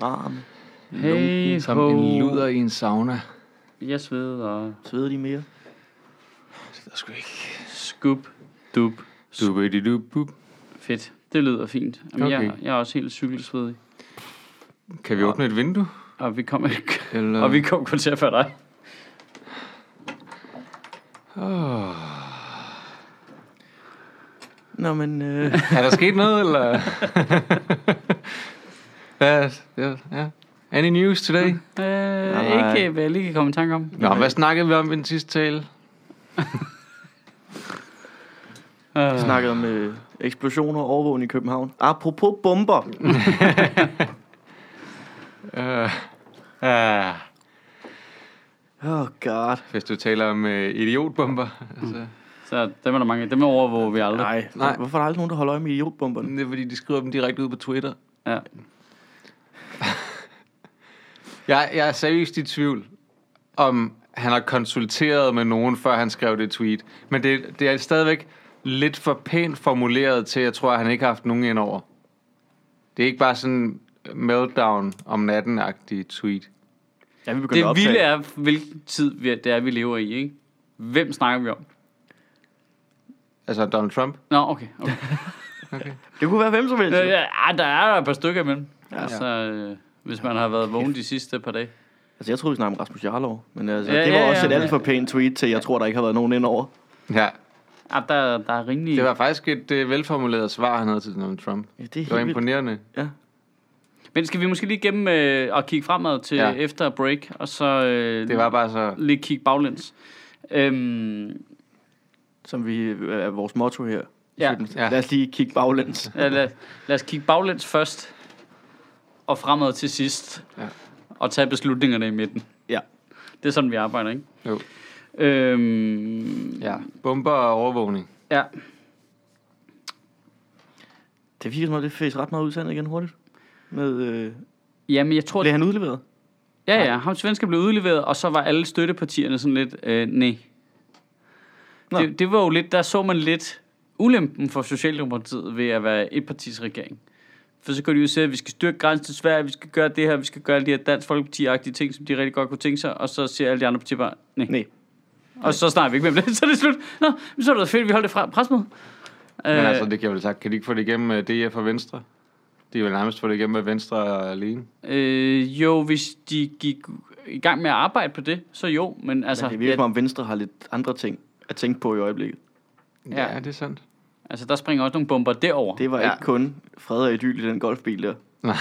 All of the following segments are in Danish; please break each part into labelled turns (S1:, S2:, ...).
S1: varm,
S2: Hey,
S1: lunken,
S2: som
S1: ho.
S2: en luder i en sauna.
S3: Jeg sveder.
S1: sveder de mere.
S2: Det er sgu ikke.
S3: Skub, dub.
S2: Dubididubup.
S3: Fedt. Det lyder fint. Jamen, okay. jeg,
S2: Okay.
S3: jeg er også helt cykelsvedig.
S2: Kan vi åbne et vindue?
S3: Og vi kom,
S2: Eller...
S3: og vi kom kun til at før dig.
S1: Nå, men øh,
S2: Er der sket noget, eller? Hvad- ja, ja. Any news today?
S3: Øh, ikke, hvad jeg lige kan komme i tanke om.
S2: Nå, hvad snakkede vi om i den sidste tale?
S3: Øh,
S1: vi snakkede om øh, eksplosioner og overvågning i København. Apropos bomber.
S2: Uh, uh,
S1: Oh god.
S2: hvis du taler om uh, idiotbomber. Altså,
S3: så dem er der mange. Dem overvåger vi aldrig.
S1: Nej,
S2: Nej.
S1: Nej. hvorfor er der aldrig nogen, der holder øje med idiotbomberne?
S2: det er fordi, de skriver dem direkte ud på Twitter.
S3: Ja.
S2: Jeg, jeg er seriøst i tvivl, om han har konsulteret med nogen, før han skrev det tweet. Men det, det er stadigvæk lidt for pænt formuleret til, jeg tror, at han ikke har haft nogen ind over. Det er ikke bare sådan meltdown om natten-agtig tweet.
S1: Ja, vi begynder at
S3: Det
S1: optage.
S3: vilde er, hvilken tid vi, det er, vi lever i, ikke? Hvem snakker vi om?
S2: Altså Donald Trump.
S3: Nå, okay. okay.
S1: Det kunne være hvem som helst.
S3: Øh,
S1: Ja.
S3: ja, ah, der er et par stykker imellem. Ja. Altså, øh, hvis man har været vågen de sidste par dage.
S1: Altså, jeg troede, vi snakkede om Rasmus Jarlov, men altså,
S3: Ja,
S1: ja, det var
S3: ja,
S1: ja, også
S3: ja,
S1: et
S3: men-
S1: alt for pænt tweet til, jeg tror, der ikke har været nogen ind over.
S2: Ja,
S3: Ah, der, der er rimelig...
S2: det var faktisk et uh, velformuleret svar, han havde til Donald Trump.
S1: Ja, det er
S2: Det var
S1: helt vildt.
S2: imponerende.
S1: Ja.
S3: Men skal vi måske lige gennem øh, og kigge fremad til ja.
S2: Ja.
S3: efter break, og så øh,
S2: Det var bare så...
S3: lige kigge baglæns? Øhm,
S1: Som vi øh, er vores motto her.
S3: Ja,
S2: ja.
S1: ja. Lad os lige kigge baglæns.
S3: Ja, lad, lad os kigge baglæns først, og fremad til sidst, ja.
S2: Ja.
S3: og tage beslutningerne i midten.
S1: Ja.
S3: Det er sådan, vi arbejder, ikke?
S2: Jo.
S3: Øhm,
S2: Ja. Bomber og overvågning.
S3: ja.
S1: Det virker som om, det fæs ret meget udsendt igen hurtigt. Med, øh,
S3: Jamen, jeg tror...
S1: blev han udleveret?
S3: Ja, ja, ham svensker blev udleveret, og så var alle støttepartierne sådan lidt, øh, nej.
S1: Nå.
S3: Det, det var jo lidt, der så man lidt ulempen for Socialdemokratiet ved at være et partis regering. For så kunne de jo sige, at vi skal styrke grænsen til Sverige, vi skal gøre det her, vi skal gøre de her Dansk Folkeparti-agtige ting, som de rigtig godt kunne tænke sig, og så siger alle de andre partier bare, nej.
S1: Nej.
S3: Og så snakker vi ikke mere om det, så er det slut. Nå, men så er det fedt, vi holdt det fra presmøde.
S2: Men
S3: Øh,
S2: altså, det kan jeg vel sagt. Kan de ikke få det igennem med DF og Venstre? De vil nærmest få det igennem med Venstre alene.
S3: øh, jo, hvis de gik i gang med at arbejde på det, så jo, men altså...
S1: Altså, men det virker som om Venstre har lidt andre ting at tænke på i øjeblikket.
S3: Ja.
S2: Ja, det er sandt.
S3: Altså, der springer også nogle bomber derover.
S1: Det var ja.
S2: Ja.
S1: ikke kun fred og idyl i den golfbil der.
S2: Nej.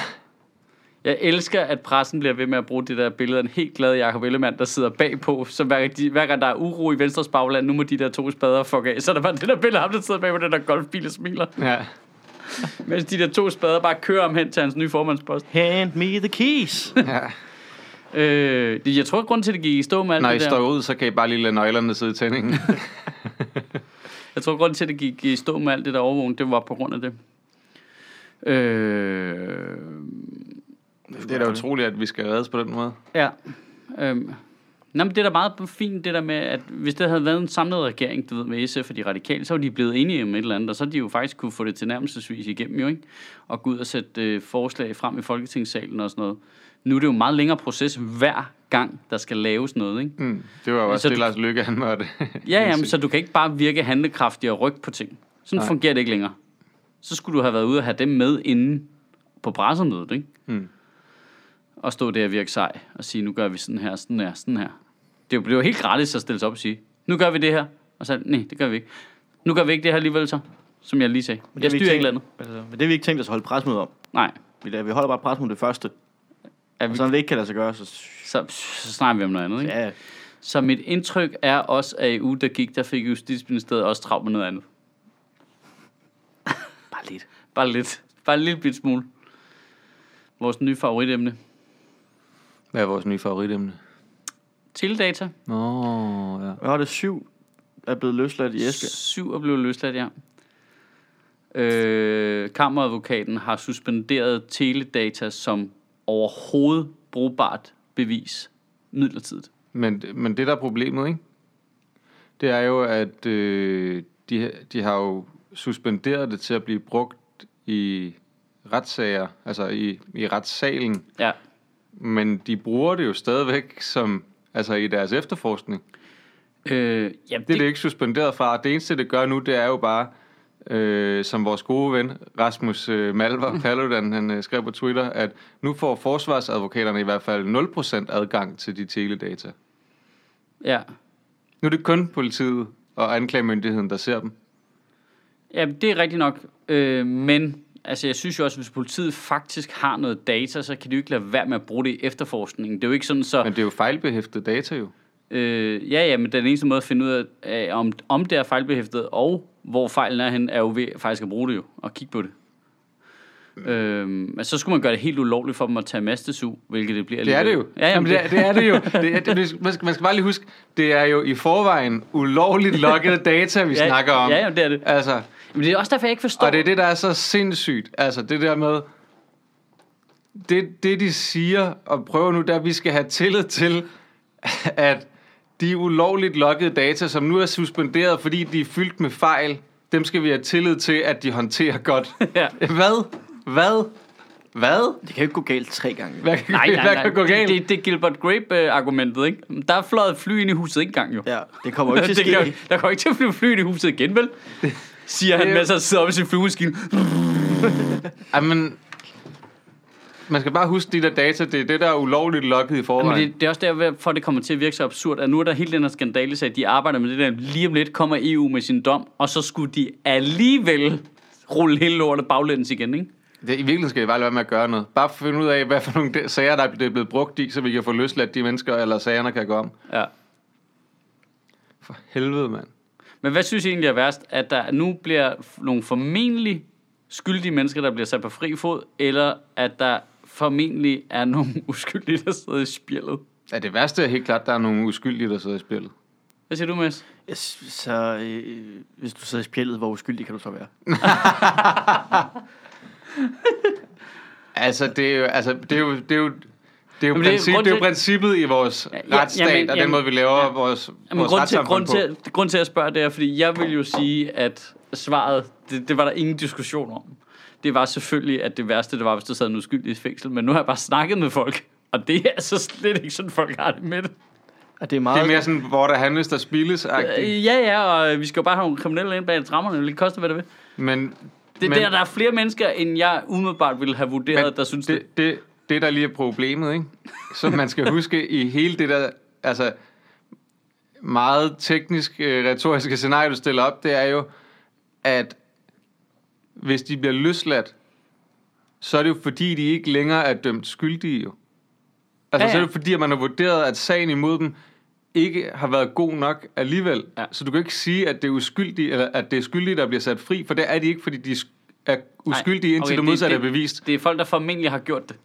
S3: Jeg elsker, at pressen bliver ved med at bruge det der billede af en helt glad Jacob Ellemann, der sidder bagpå. Så hver, gang de, hver gang der er uro i Venstres bagland, nu må de der to spader fuck af. Så er der bare det der billede af ham, der sidder bag på den der golfbil og smiler.
S2: Ja.
S3: Mens de der to spader bare kører om hen til hans nye formandspost.
S1: Hand me the keys!
S2: ja.
S3: Øh, det- jeg tror, at grunden til, at det gik i stå med alt
S2: Når I
S3: det der...
S2: står ud, så kan I bare lige lade nøglerne sidde i tændingen.
S3: Jeg tror, grund til, at det gik i stå med alt det der overvågning, det var på grund af det. Øh,
S2: det er da utroligt, at vi skal reddes på den måde.
S3: ja. Øhm. Nå, men det er da meget fint, det der med, at hvis der havde været en samlet regering, du ved, med SF og de radikale, så var de blevet enige om et eller andet, og så havde de jo faktisk kunne få det tilnærmelsesvis igennem, jo, ikke? Og gå ud og sætte øh, forslag frem i Folketingssalen og sådan noget. Nu er det jo en meget længere proces hver gang, der skal laves noget, ikke?
S2: Mm. Det var jo også
S3: Så
S2: det,
S3: du-
S2: Lars Lykke, han måtte.
S3: Altså, Ja, jamen, så du kan ikke bare virke handlekraftig og rykke på ting. Sådan Nej.
S2: Nej.
S3: fungerer det ikke længere. Så skulle du have været ude og have dem med inden på pressemødet, ikke?
S1: Hmm.
S2: Mm.
S3: Og stå der og virke sej og sige, nu gør vi sådan her, sådan her, sådan her. Det blev jo helt gratis at stille sig op og sige, nu gør vi det her. Og så, nej, det gør vi ikke. Nu gør vi ikke det her alligevel så, som jeg lige sagde.
S1: Men det
S3: Jeg
S1: har vi
S3: styrer ikke
S1: ikke
S3: landet.
S1: Altså, men det har vi ikke tænkt os at holde presmøde om.
S3: Nej,
S1: Vi, lader, vi holder bare presmøde det første.
S3: Er
S1: Og
S3: vi-
S1: så når det ikke kan lade sig gøre, så...
S3: så, så snakker vi om noget andet, ikke?
S1: Ja,
S3: Så mit indtryk er også, at i uge, der gik, der fik Justitsministeriet også travlt med noget andet.
S1: bare lidt.
S3: Bare lidt. Bare en lille bit smule. Vores nye favoritemne.
S2: Hvad er vores nye favoritemne?
S3: Teledata.
S2: Nå, ja.
S1: Hvad var det? Syv er blevet løsladt i Esbjerg.
S3: Syv er blevet løsladt, ja. Øh, kammeradvokaten har suspenderet teledata som overhovedet brugbart bevis midlertidigt.
S2: Men, men det, der er problemet, ikke? Det er jo, at øh, de, de har jo suspenderet det til at blive brugt i retssager, altså i, i retssalen,
S3: Ja.
S2: men de bruger det jo stadigvæk som, altså i deres efterforskning.
S3: Øh, jamen,
S2: Det er det ikke suspenderet fra. Det eneste, det gør nu, det er jo bare, øh, som vores gode ven Rasmus øh, Malvar Paludan, han øh, skrev på Twitter, at nu får forsvarsadvokaterne i hvert fald 0% adgang til de teledata.
S3: Ja.
S2: Nu er det kun politiet og anklagemyndigheden, der ser dem.
S3: Ja, det er rigtigt nok. Øh, men altså, jeg synes jo også, at hvis politiet faktisk har noget data, så kan de jo ikke lade være med at bruge det i efterforskningen. Det er jo ikke sådan, så...
S2: Men det er jo fejlbehæftet data jo.
S3: Øh, ja, ja, men den eneste måde at finde ud af, af om, om det er fejlbehæftet, og hvor fejlen er hen, er jo ved faktisk at bruge det jo, og kigge på det. Øhm, altså, så skulle man gøre det helt ulovligt for dem at tage mastesug, hvilket det bliver
S2: Det er det jo.
S3: alligevel. Ja, jamen,
S2: det, er, det er det jo. Det er, det, man, skal, man skal bare lige huske, det er jo i forvejen ulovligt loggede data, vi
S3: Ja,
S2: snakker om.
S3: ja, jamen, det er det.
S2: Altså,
S3: men det er også derfor, jeg ikke forstår.
S2: og det er det, der er så sindssygt. Altså, det der med... Det, det de siger og prøver nu, der vi skal have tillid til, at de ulovligt loggede data, som nu er suspenderet, fordi de er fyldt med fejl, dem skal vi have tillid til, at de håndterer godt.
S3: Ja.
S2: Hvad? Hvad? Hvad?
S1: Det kan jo ikke gå galt tre gange.
S2: Hvad kan,
S3: Nej, nej,
S2: hvad
S3: nej.
S2: kan gå galt?
S3: Det, det, det er Gilbert Grape-argumentet, ikke? Der er fløjet et fly ind i huset ikke engang, jo.
S1: Ja, det kommer jo ikke til
S3: det
S1: at ske.
S3: kan, jo- der kommer ikke til at flyve fly ind i huset igen, vel? Siger han,
S2: Det er
S3: mens han sidder oppe i sin flyvemaskine.
S2: Jamen, man skal bare huske de der data, det er det, der er ulovligt logget i
S3: Men
S2: forvejen.
S3: det, det er også derfor, det kommer til at virke så absurd, at nu er der hele den her skandale, så de arbejder med det der, lige om lidt kommer EU med sin dom, og så skulle de alligevel rulle hele lortet baglæns igen, ikke?
S2: Det, I virkeligheden skal det bare lade være med at gøre noget. Bare finde ud af, hvad for nogle de- sager, der er blevet- blevet brugt i, så vi kan få løsladt de mennesker, eller sagerne kan gå om.
S3: Ja.
S2: For helvede, mand.
S3: Men hvad synes I egentlig er værst? At der nu bliver f- nogle formentlig skyldige mennesker, der bliver sat på fri fod, eller at der formentlig er nogle uskyldige, der sidder i spjældet?
S2: Ja, det værste er helt klart, at der er nogle uskyldige, der sidder i spillet.
S3: Hvad siger du, Mads?
S1: Jeg s- Så øh, hvis du sidder i spjældet, hvor uskyldig kan du så være?
S2: Altså, det er jo, altså, det er jo, det er jo, det er jo,
S3: Jamen, det er
S2: princip, det,
S3: grund
S2: er jo
S3: til-
S2: princippet i vores
S3: Ja, ja,
S2: retsstat,
S3: jamen,
S2: og den
S3: jamen,
S2: måde, vi laver
S3: ja.
S2: vores,
S3: Jamen,
S2: vores
S3: grund, til, grund,
S2: retssamfund på.
S3: til, at- grund til at spørge det er, fordi jeg vil jo sige, at svaret, det, det var der ingen diskussion om. Det var selvfølgelig, at det værste, det var, hvis der sad en uskyldig i fængsel, men nu har jeg bare snakket med folk, og det er altså slet ikke sådan, folk har det med det.
S1: Og det er
S2: Det
S1: meget...
S2: er mere sådan, hvor der handles, der spildes -agtigt.
S3: Øh, Ja, ja, og øh, vi skal jo bare have nogle kriminelle ind bag rammerne, det koster, hvad det vil.
S2: Men
S3: Det er
S2: Men-
S3: der, der er flere mennesker, end jeg umiddelbart ville have vurderet,
S2: Men
S3: der synes det.
S2: det, det, det, der lige er problemet, ikke? som man skal huske i hele det der altså, meget teknisk, øh, retoriske scenarie, du stiller op, det er jo, at hvis de bliver løsladt, så er det jo fordi, de ikke længere er dømt skyldige. Jo.
S3: Ja,
S2: Altså, ja,
S3: ja.
S2: ja. så er det fordi, at man har vurderet, at sagen imod dem ikke har været god nok alligevel.
S3: Ja.
S2: Ja. Så du kan ikke sige, at det er uskyldige, eller at det er skyldige, der bliver sat fri, for det er de ikke, fordi de sk- er uskyldige, indtil
S3: okay,
S2: okay, det modsatte
S3: det-
S2: er bevist.
S3: Det er folk, der formentlig har gjort det.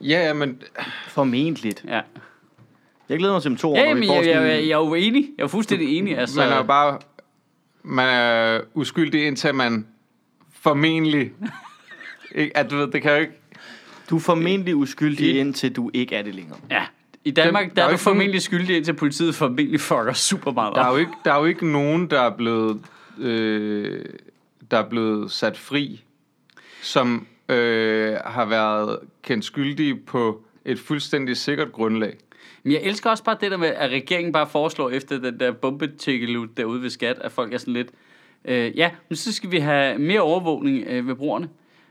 S2: Ja, ja, men altså-
S1: Formentligt.
S3: Ja,
S1: Jeg glæder mig til om to år,
S3: ja
S1: når
S3: men
S1: vi får
S3: jeg, jeg,
S1: sådan...
S3: jeg, jeg er jo enig. Jeg er fuldstændig enig. Altså,
S2: man er jo bare man er uskyldig, indtil man formentlig... ikke, at, du ved, det kan jo ikke...
S1: Du er formentlig uskyldig, indtil du ikke er det længere.
S3: Ja. I Danmark,
S2: Dem-
S3: der,
S2: der er
S3: er
S2: jo
S3: du
S2: ikke nogen-
S3: formentlig skyldig, indtil politiet formentlig fucker super meget
S2: Der er
S3: op.
S2: jo ikke, der er jo ikke nogen, der er blevet, øh, der er blevet sat fri, som øh, har været kendt skyldige på et fuldstændig sikkert grundlag.
S3: Men jeg elsker også bare det der med, at regeringen bare foreslår efter den der bombetikkelut derude ved skat, at folk er sådan lidt, øh, ja, men så skal vi have mere overvågning øh, ved broerne.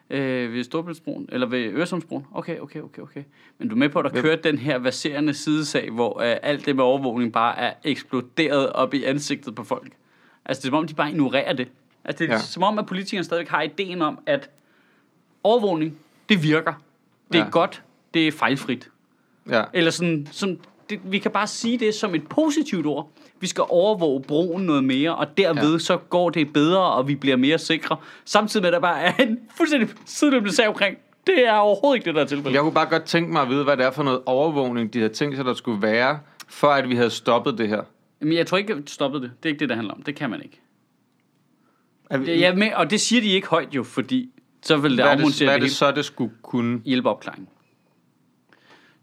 S3: Øh, ved Storbritannien, eller ved Øresundsbroen. Okay, okay, okay, okay. Men du er med på, at der kører den her verserende sidesag, hvor øh, alt det med overvågning bare er eksploderet op i ansigtet på folk. Altså, det er som om, de bare ignorerer det. Altså, det er ja.
S2: Ja.
S3: som om, at politikerne stadigvæk har ideen om, at overvågning, det virker. Det er ja.
S2: Ja.
S3: godt. Det er fejlfrit.
S2: Ja.
S3: Eller sådan, som, det, vi kan bare sige det som et positivt ord. Vi skal overvåge broen noget mere, og derved ja.
S2: Ja.
S3: så går det bedre, og vi bliver mere sikre. Samtidig med, at der bare er en fuldstændig sideløbende sag omkring. Det er overhovedet ikke det, der er tilfældet.
S2: Jeg kunne bare godt tænke mig at vide, hvad det er for noget overvågning, de havde tænkt sig, der skulle være, for at vi havde stoppet det her.
S3: Men jeg tror ikke, jeg stoppede det. Det er ikke det, det handler om. Det kan man ikke.
S1: Er vi-
S3: Det, ja, men, og det siger de ikke højt jo, fordi så vil det
S2: Hvad er det,
S3: afmontere
S2: hvad er
S3: det,
S2: det
S3: det
S2: så, det skulle kunne?
S3: hjælpeopklaringen.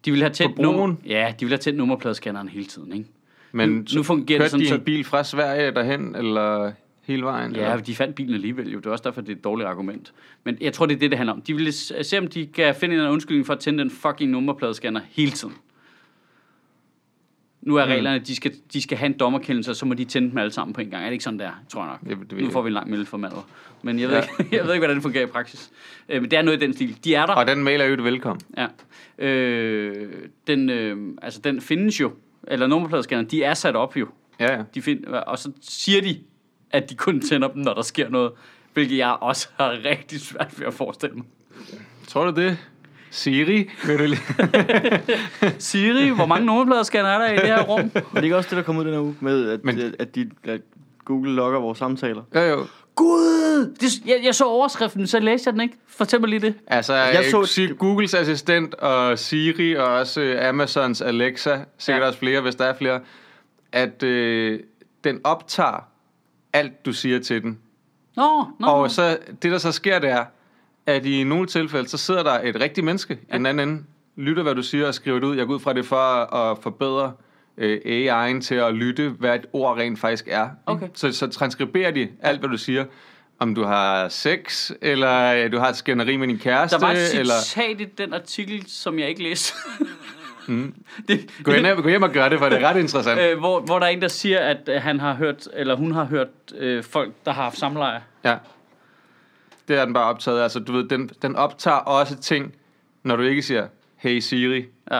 S3: De vil have tæt
S2: På broen?
S3: nummer- ja, de vil have tæt nummerpladescanneren hele tiden, ikke?
S2: Men
S3: Nu-
S2: nu,
S3: nu fungerer det
S2: kørte
S3: sådan,
S2: de en
S3: så-
S2: bil fra Sverige derhen, eller hele vejen?
S3: Ja,
S2: eller?
S3: de fandt bilen alligevel jo. Det er også derfor, det er et dårligt argument. Men jeg tror, det er det, det handler om. De ville s- se, om de kan finde en eller anden undskyldning for at tænde den fucking nummerpladescanner hele tiden. Nu
S2: Mm.
S3: er reglerne, de skal, de skal have en dommerkendelse, og så må de tænde dem alle sammen på en gang. Er det ikke sådan, der? Tror jeg nok.
S2: Det- det ved
S3: nu
S2: jeg
S3: får vi en lang mail for madder. Men jeg ved,
S2: Ja.
S3: ikke, jeg ved ikke, hvordan det fungerer i praksis. Øh, men det er noget i den stil. De er der.
S2: Og den mail er jo et velkommen.
S3: Ja. Øh, den, øh, altså, den findes jo. Eller nummerpladescanner, de er sat op jo.
S2: Ja, ja.
S3: De find, og så siger de, at de kun tænder dem, når der sker noget. Hvilket jeg også har rigtig svært ved at forestille mig.
S2: Tror du det? Siri? Vil du lige...
S3: Siri, hvor mange nummerplader skal der er der i det her rum?
S1: Men det er ikke også det, der kom ud den her uge med, at,
S2: Men-
S1: Men... at, de, at Google logger vores samtaler.
S2: jo, jo.
S3: Gud! Det, jeg, jeg så overskriften, så læste jeg den ikke. Fortæl mig lige det.
S2: Altså,
S1: Jeg
S2: jeg
S1: så-
S2: så... Googles assistent og Siri og også øh, Amazons Alexa, sikkert
S3: Ja.
S2: ja. også flere, hvis der er flere, at øh, den optager alt, du siger til den.
S3: Nå, nå.
S2: Og så, det, der så sker, det er, at i nogle tilfælde, så sidder der et rigtigt menneske ja. i den anden ende, lytter, hvad du siger, og skriver det ud. Jeg går ud fra det er for at forbedre øh, AI'en til at lytte, hvad et ord rent faktisk er.
S3: Okay.
S2: Så, så transkriberer de alt, hvad du siger. Om du har sex, eller øh, du har et skænderi med din kæreste,
S3: der var et citat
S2: eller...
S3: eller... i den artikel, som jeg ikke læste. mm. det,
S2: Hmm. Gå hjem, gå hjem og gør det, for det er ret interessant.
S3: øh, hvor, hvor der er en, der siger, at øh, han har hørt, eller hun har hørt øh, folk, der har haft samleje.
S2: Ja. Det er den bare optaget. af. Altså, du ved, den, den optager også ting, når du ikke siger, hey Siri.
S3: Ja.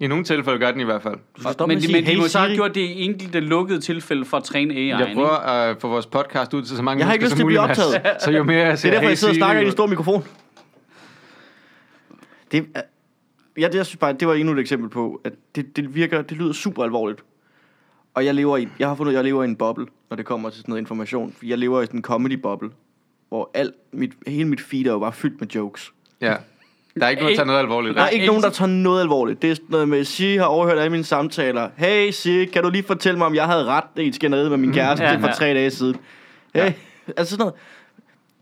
S2: I nogle tilfælde gør den i hvert fald.
S1: Du skal stoppe med
S3: men
S1: at
S3: de,
S1: sige,
S3: men de
S1: "Hey,
S3: må så have
S1: Siri."
S3: gjort det i enkelte lukkede tilfælde for at træne AI'en.
S2: Jeg prøver øh, at få vores podcast ud til så mange
S1: Jeg har ikke
S2: mennesker
S1: lyst til at blive
S2: som muligt, Mads. Så jo mere jeg
S1: Det
S2: siger,
S1: er derfor,
S2: hey,
S1: jeg sidder og
S2: Siri,
S1: snakker i
S2: jo-
S1: en stor mikrofon. Det, er- ja, det, jeg synes bare, det var endnu et eksempel på, at det, det virker, det lyder super alvorligt. Og jeg lever i, jeg har fundet ud, af, at jeg lever i en boble, når det kommer til sådan noget information. For jeg lever i sådan en comedy-boble, hvor alt mit, hele mit feed er jo bare fyldt med jokes.
S2: Ja. Der er ikke noget, der tager noget alvorligt.
S1: Der er
S2: Nej.
S1: ikke nogen, der tager noget alvorligt. Det er sådan noget med, Siri har overhørt alle mine samtaler. Hey Siri, kan du lige fortælle mig, om jeg havde ret i et skænderi med min kæreste
S3: Ja,
S1: ja, for
S3: ja.
S1: tre dage siden? Hey, ja. altså sådan noget.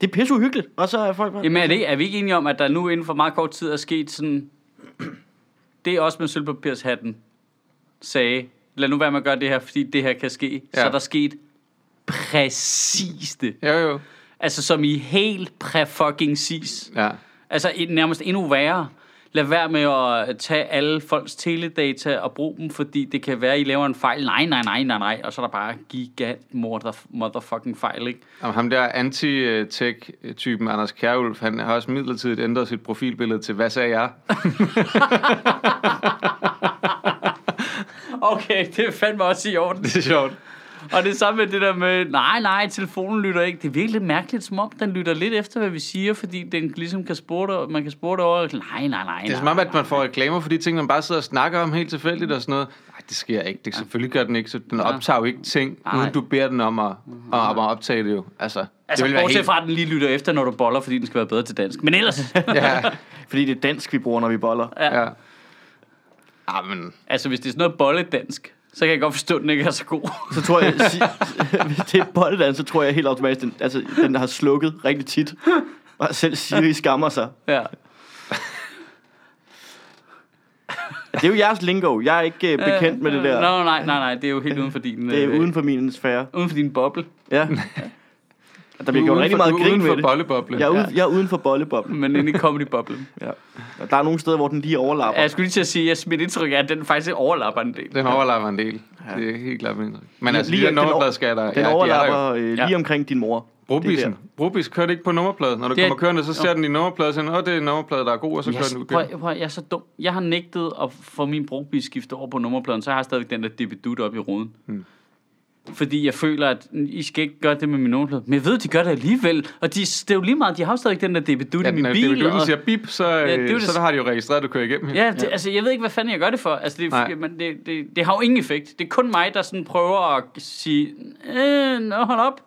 S1: Det er pisse uhyggeligt. Og så er folk bare...
S3: Jamen er, det, er vi ikke enige om, at der nu inden for meget kort tid er sket sådan... Det er også med sølvpapirshatten sagde, lad nu være med at gøre det her, fordi det her kan ske. Ja.
S2: Ja.
S3: Så er der sket præcis det.
S2: Jo, jo.
S3: Altså som i helt præ-fucking sis.
S2: Ja.
S3: Altså en- nærmest endnu værre. Lad være med at tage alle folks teledata og bruge dem, fordi det kan være, at I laver en fejl. Nej, nej, nej, nej, nej. Og så er der bare gigant mother, motherfucking fejl, ikke?
S2: Om ham der anti-tech-typen, Anders Kjærulf, han har også midlertidigt ændret sit profilbillede til, hvad sagde jeg?
S3: Okay, det er fandme også i orden.
S2: Det er sjovt.
S3: Og det samme med det der med, nej, nej, telefonen lytter ikke. Det er virkelig lidt mærkeligt, som om den lytter lidt efter, hvad vi siger, fordi den ligesom kan spore det, man kan spore det over. Nej, nej, nej.
S2: Det er som
S3: nej,
S2: om, at man får reklamer for de ting, man bare sidder og snakker om helt tilfældigt og sådan noget. Nej, det sker ikke. Det, selvfølgelig gør den ikke. Så den optager jo ikke ting,
S3: Nej. Mhm.
S2: uden du beder den om at, om at optage det jo. Altså,
S3: Altså,
S2: det
S3: det bortset fra, at den lige lytter efter, når du boller, fordi den skal være bedre til dansk. Men ellers,
S2: Ja,
S1: Fordi det er dansk, vi bruger, når vi boller.
S2: ja. Ah, men...
S3: altså hvis det er sådan noget bolledansk, så kan jeg godt forstå, at den ikke er så god.
S1: Så tror jeg, si- hvis det er bolledans, så tror jeg helt automatisk, den, altså, den har slukket rigtig tit. Og selv Siri skammer sig.
S3: ja.
S1: Det er jo jeres lingo. Jeg er ikke uh, bekendt med det der.
S3: Nå, nej, nej, nej, det er jo helt uden for din...
S1: Det er
S3: øh,
S1: uden for min sfære.
S3: uden for din boble.
S1: Ja. Og der bliver gjort rigtig meget grin med
S2: for
S1: det.
S2: bolleboble.
S1: Jeg er, ude, jeg er uden for bolleboblen.
S3: Men inde i comedy-boblen.
S1: Ja. Og der er nogle steder, hvor den lige overlapper.
S3: Jeg skulle lige til at sige, at jeg- mit indtryk er, at den faktisk overlapper en del.
S2: Den overlapper en del. Ja. Det er helt klart min indtryk. Men altså,
S1: Lige-
S2: lige, de der
S1: den over-
S2: nummerpladeskatter,
S1: Den
S2: ja, de er der jo.
S1: overlapper øh, lige
S3: Ja.
S1: omkring din mor.
S2: Brobisen.
S1: Det
S2: Brobis kører det ikke på nummerplade. Når du
S3: Det er-
S2: kommer kørende, så ser
S3: Jo.
S2: den din nummerplade, og siger, åh, det er en nummerplade, der er god, og så
S3: Jeg,
S2: kører den ud. igen.
S3: prøv, prøv, jeg er så dum. Jeg har nægtet at få min brugbil skiftet over på nummerpladen, så jeg har stadigvæk den der dibidut op i ruden. Hmm. Fordi jeg føler, at I skal ikke gøre det med min nummerplade. Men jeg ved, de gør det alligevel. Og de, det er jo lige meget, de har jo stadigvæk den der dibidut
S2: Ja,
S3: i min
S2: den, er-
S3: bil.
S2: det, er,
S3: og,
S2: den siger bip, så,
S3: det er
S2: ja,
S3: jo det-
S2: så har de jo registreret, at du kører igennem.
S3: ja, det, altså jeg ved ikke, hvad fanden jeg gør det for. Altså, det,
S2: Nej.
S3: er- men det, det, det har jo ingen effekt. Det er kun mig, der sådan prøver at sige, øh, nå, hold op.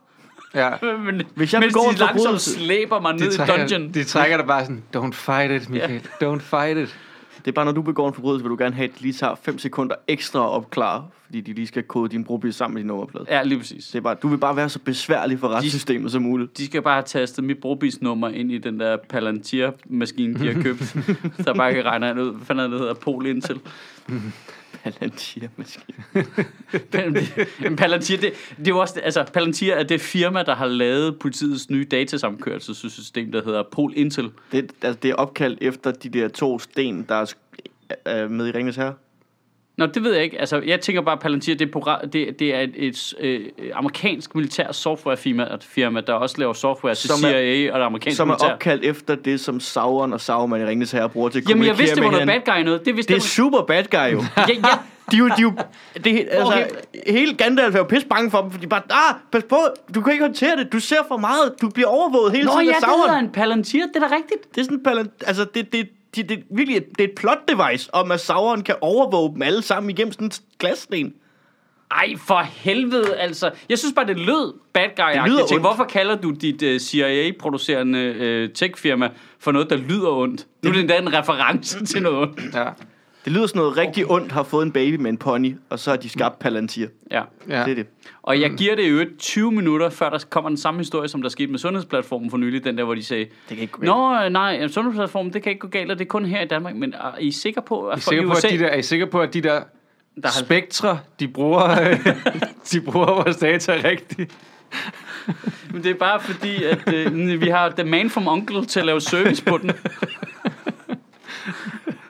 S2: ja.
S3: Men,
S1: Hvis jeg
S3: mens
S1: begår
S3: de
S1: en
S3: langsomt
S1: forbrydelse-
S3: slæber mig ned
S2: De
S3: i
S2: trækker,
S3: dungeon.
S2: de trækker dig bare sådan, don't fight it, Michael. Don't fight it.
S1: Det er bare, når du begår en forbrydelse, vil du gerne have, at det lige tager 5 sekunder ekstra at opklare. fordi de lige skal kode din brobil sammen med din nummerplade.
S3: Ja, lige præcis.
S1: Det er bare, du vil bare være så besværlig for retssystemet som muligt.
S3: De skal bare have tastet mit brobilsnummer ind i den der Palantir-maskine, de har købt. der bare kan regne ud, hvad fanden er det, der hedder Pol indtil.
S1: Palantir måske.
S3: Men Palantir, det, det er jo også, altså, Palantir er det firma, der har lavet politiets nye datasamkørelsessystem, der hedder Pol Intel.
S1: Det, altså, det er opkaldt efter de der to sten, der er sk- er med i Ringens Herre.
S3: Nå, det ved jeg ikke. Altså, jeg tænker bare, Palantir, det er, program, det, det er et, et øh, amerikansk militær softwarefirma, firma, der også laver software til
S1: Som er-
S3: CIA og det amerikanske
S1: Som er
S3: militær.
S1: opkaldt efter det, som Sauron og Sauron i Ringens Herre bruger til at
S3: Jamen, jeg
S1: kommunikere
S3: vidste, det
S1: med
S3: var noget
S1: hinanden.
S3: bad guy noget. Det vidste
S1: Det er
S3: jeg.
S1: super bad guy jo.
S3: Ja, ja.
S1: De, er jo- de, er jo- det, er- altså, okay. Hele Gandalf er jo pisse bange for dem, fordi bare, ah, pas på, du kan ikke håndtere det, du ser for meget, du bliver overvåget hele
S3: Nå
S1: tiden
S3: ja,
S1: af
S3: det hedder
S1: Sauron.
S3: en Palantir, det er da rigtigt.
S1: Det er sådan, palan- altså, det, det, det, det, er virkelig, et- det er et plot device om, at Sauron kan overvåge dem alle sammen igennem sådan en glassten.
S3: Ej, for helvede, altså. Jeg synes bare, det lød bad guy
S1: Det lyder ondt.
S3: Hvorfor kalder du dit uh, CIA-producerende uh, tech-firma for noget, der lyder ondt? Nu er det endda en reference til noget ondt.
S2: Ja.
S1: Det lyder sådan noget rigtig ondt, har fået en baby med en pony, og så har de skabt Palantir.
S3: Ja.
S1: Ja.
S2: ja.
S1: Det er det.
S3: Og jeg giver det jo et 20 minutter, før der kommer den samme historie, som der skete med Sundhedsplatformen for nylig, den der, hvor de sagde,
S1: kan ikke gå galt.
S3: Nå, øh, nej, øh, Sundhedsplatformen, det kan ikke gå galt, og det er kun her i Danmark, men ah, er I sikre på, at
S2: Er I sikre på,
S3: USA,
S2: at de der, er I sikre på, at de der,
S3: Der
S2: der
S3: har-
S2: spektre, de bruger, øh, de bruger vores data rigtigt?
S3: Men det er bare fordi, at øh, vi har The Man from Uncle til at lave service på den.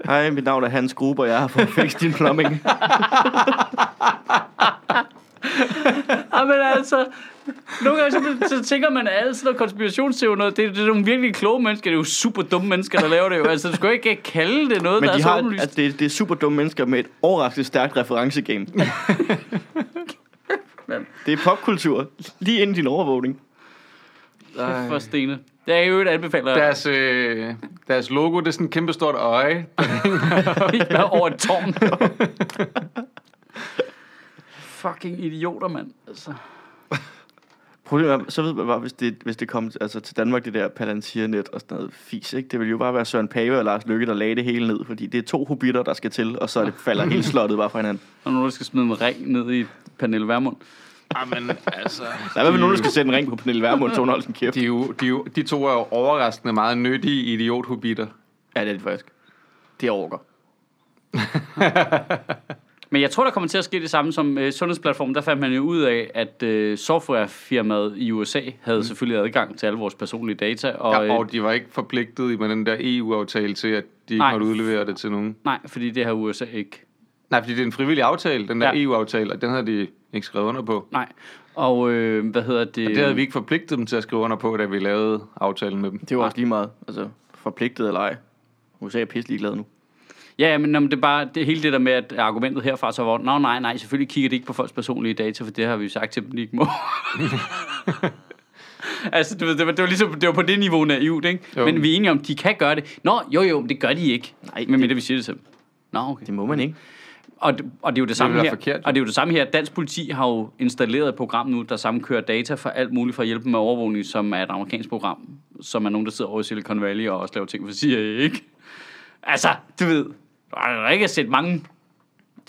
S1: Hej, mit navn er Hans Gruber, jeg har fået fikset din plumbing.
S3: Ja, men altså, nogle gange så, så tænker man, at alle sådan noget konspirationsteorier, noget, det, det er nogle virkelig kloge mennesker, det er jo super dumme mennesker, der laver det jo. Altså, du skal jo ikke kalde det noget,
S1: Men
S3: der
S1: de
S3: er så
S1: har,
S3: åbenlyst.
S1: altså, det, det er super dumme mennesker med et overraskende stærkt referencegame. det er popkultur, lige inden din overvågning.
S3: Kæft For Stene. Det er jo et anbefaler der
S2: Deres, øh, deres logo, det er sådan et kæmpe stort øje.
S3: er over et tårn. Fucking idioter, mand. Altså.
S1: Problemet er, så ved man bare, hvis det, hvis det kom altså, til Danmark, det der Palantir-net og sådan noget fis, ikke? det ville jo bare være Søren Pave og Lars Lykke, der lagde det hele ned, fordi det er to hobitter, der skal til, og så det falder hele slottet bare fra hinanden.
S3: Og nu skal smide en ring ned i Pernille Vermund.
S2: Jamen, altså...
S1: Der er i hvert fald nogen, der skal sætte en ring på Pernille Vermund, Tone Holsen kæft.
S2: De, er jo, de, er jo, de to er jo overraskende meget nyttige idiothubiter.
S1: Ja, det er det faktisk. Det overgår.
S3: Men jeg tror, der kommer til at ske det samme som øh, sundhedsplatformen. Der fandt man jo ud af, at øh, softwarefirmaet i USA havde mm. selvfølgelig adgang til alle vores personlige data. Og,
S2: Ja,
S3: øh,
S2: og de var ikke forpligtet med den der EU-aftale til, at de ikke
S3: Nej.
S2: måtte udlevere det til nogen.
S3: nej, fordi det har USA ikke.
S2: Nej, fordi det er en frivillig aftale, den der
S3: Ja.
S2: ja. EU-aftale, og den havde de ikke skrevet under på.
S3: Nej. Og øh, hvad hedder det?
S2: Det havde vi ikke forpligtet dem til at skrive under på, da vi lavede aftalen med dem.
S1: Det var også lige meget. Altså, forpligtet eller ej. USA er pisselig glad nu.
S3: Ja, men, nå, men det er bare det, hele det der med, at argumentet herfra så var, nej, nej, nej, selvfølgelig kigger det ikke på folks personlige data, for det har vi jo sagt til dem, de ikke må. altså, du ved, det var, det var ligesom, det var på det niveau naivt, ikke? Jo.
S2: Jo.
S3: Men vi er enige om, de kan gøre det. Nå, jo, jo, men det gør de ikke.
S1: Nej,
S3: men
S1: det-
S3: det, vi siger det til dem. Nå, okay.
S1: Det må man ikke.
S3: Og, det- og det er jo det samme
S2: være
S3: her.
S2: forkert, jo.
S3: og det er jo det samme her. Dansk politi har jo installeret et program nu, der sammenkører data fra alt muligt for at hjælpe dem med overvågning, som er et amerikansk program, som er nogen, der sidder over i Silicon Valley og også laver ting for CIA, ikke? Altså, du ved, der er ikke set mange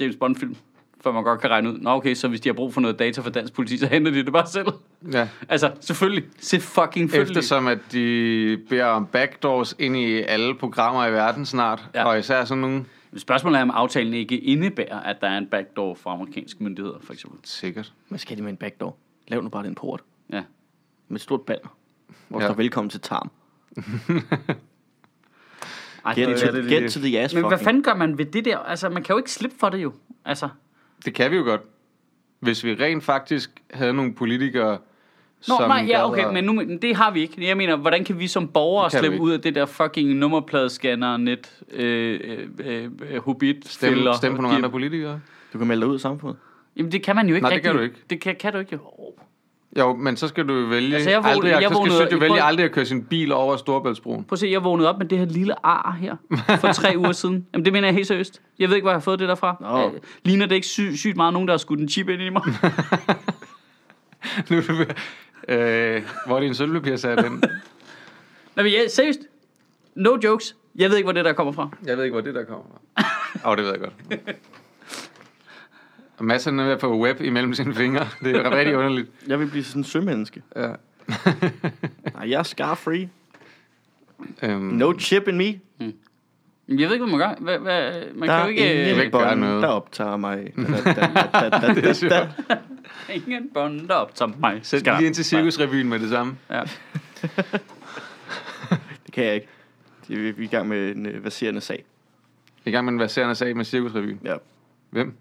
S3: James Bond-film, før man godt kan regne ud. Nå okay, så hvis de har brug for noget data fra dansk politi, så henter de det bare selv.
S2: Ja.
S3: Altså, selvfølgelig. Se fucking selvfølgelig.
S2: Eftersom at de beder om backdoors ind i alle programmer i verden snart,
S3: Ja.
S2: ja. og især sådan nogle,
S3: Spørgsmålet er, om aftalen ikke indebærer, at der er en backdoor fra amerikanske myndigheder, for eksempel.
S2: sikkert.
S1: Hvad skal de med en backdoor? Lav nu bare den port.
S3: Ja.
S1: Med et stort banner. Hvor ja.
S2: Ja.
S1: står velkommen til Tarm.
S3: Ej,
S1: Get,
S3: det er-
S1: to,
S2: det lige-
S1: get to the ass
S3: Men
S1: fucking.
S3: hvad fanden gør man ved det der? Altså, man kan jo ikke slippe for det jo. Altså,
S2: Det kan vi jo godt. Hvis vi rent faktisk havde nogle politikere,
S3: Nå,
S2: som
S3: nej, ja,
S2: gad
S3: okay,
S2: at-
S3: men nu, men det har vi ikke. Jeg mener, hvordan kan vi som borgere
S2: Det kan vi
S3: slippe
S2: ikke.
S3: ud af det der fucking nummerpladescanner, net, øh, øh, øh, øh, hobbit, fælder?
S2: stemme, stemme på nogle
S3: de-
S2: andre politikere.
S1: Du kan melde dig ud af samfundet.
S3: Jamen, det kan man jo ikke
S2: Nej, det
S3: rigtig.
S2: kan du ikke.
S3: Det kan, kan du ikke jo.
S2: Jo, men så skal du jo vælge,
S3: Altså,
S2: altså,
S3: jeg vågnede-
S2: aldrig,
S3: jeg
S2: jeg så skal,
S3: vågnede-
S2: så skal du
S3: prøv-
S2: vælge aldrig at køre sin bil over Storebæltsbroen.
S3: Prøv at se, jeg vågnede op med det her lille ar her for tre uger siden. Jamen, det mener jeg helt seriøst. Jeg ved ikke, hvor jeg har fået det derfra.
S1: Nå.
S3: Øh, ligner det ikke sy- sygt meget nogen, der har skudt en chip ind i mig?
S2: Nu er du ved- øh, hvor er din sølvpapir sat ind?
S3: Nå, men ja, seriøst. No jokes. Jeg ved ikke, hvor det der kommer fra.
S2: Jeg ved ikke, hvor det der kommer fra. Åh, oh, det ved jeg godt. Og Mads han er ved at få web imellem sine fingre. Det er rigtig underligt.
S1: Jeg vil blive sådan en sømenneske.
S2: Ja.
S1: Nej, jeg er scar-free.
S2: Øhm,
S1: No chip in me.
S3: Men Jeg ved ikke, hvad man gør. Hvad, hvad, man
S1: der er
S3: kan jo ikke... øh,
S1: ingen
S2: kan ikke gøre
S1: bånd,
S2: noget.
S1: der optager mig. Da, da, da, da, da, da, da.
S3: Ingen bånd op som mig.
S2: Sæt
S3: skal.
S2: lige ind til Cirkusrevyen med det samme.
S3: Ja.
S1: Det kan jeg ikke. Det er, vi er i gang med en øh, verserende sag.
S2: I gang med en verserende sag med Cirkusrevyen.
S1: Ja.
S2: Hvem?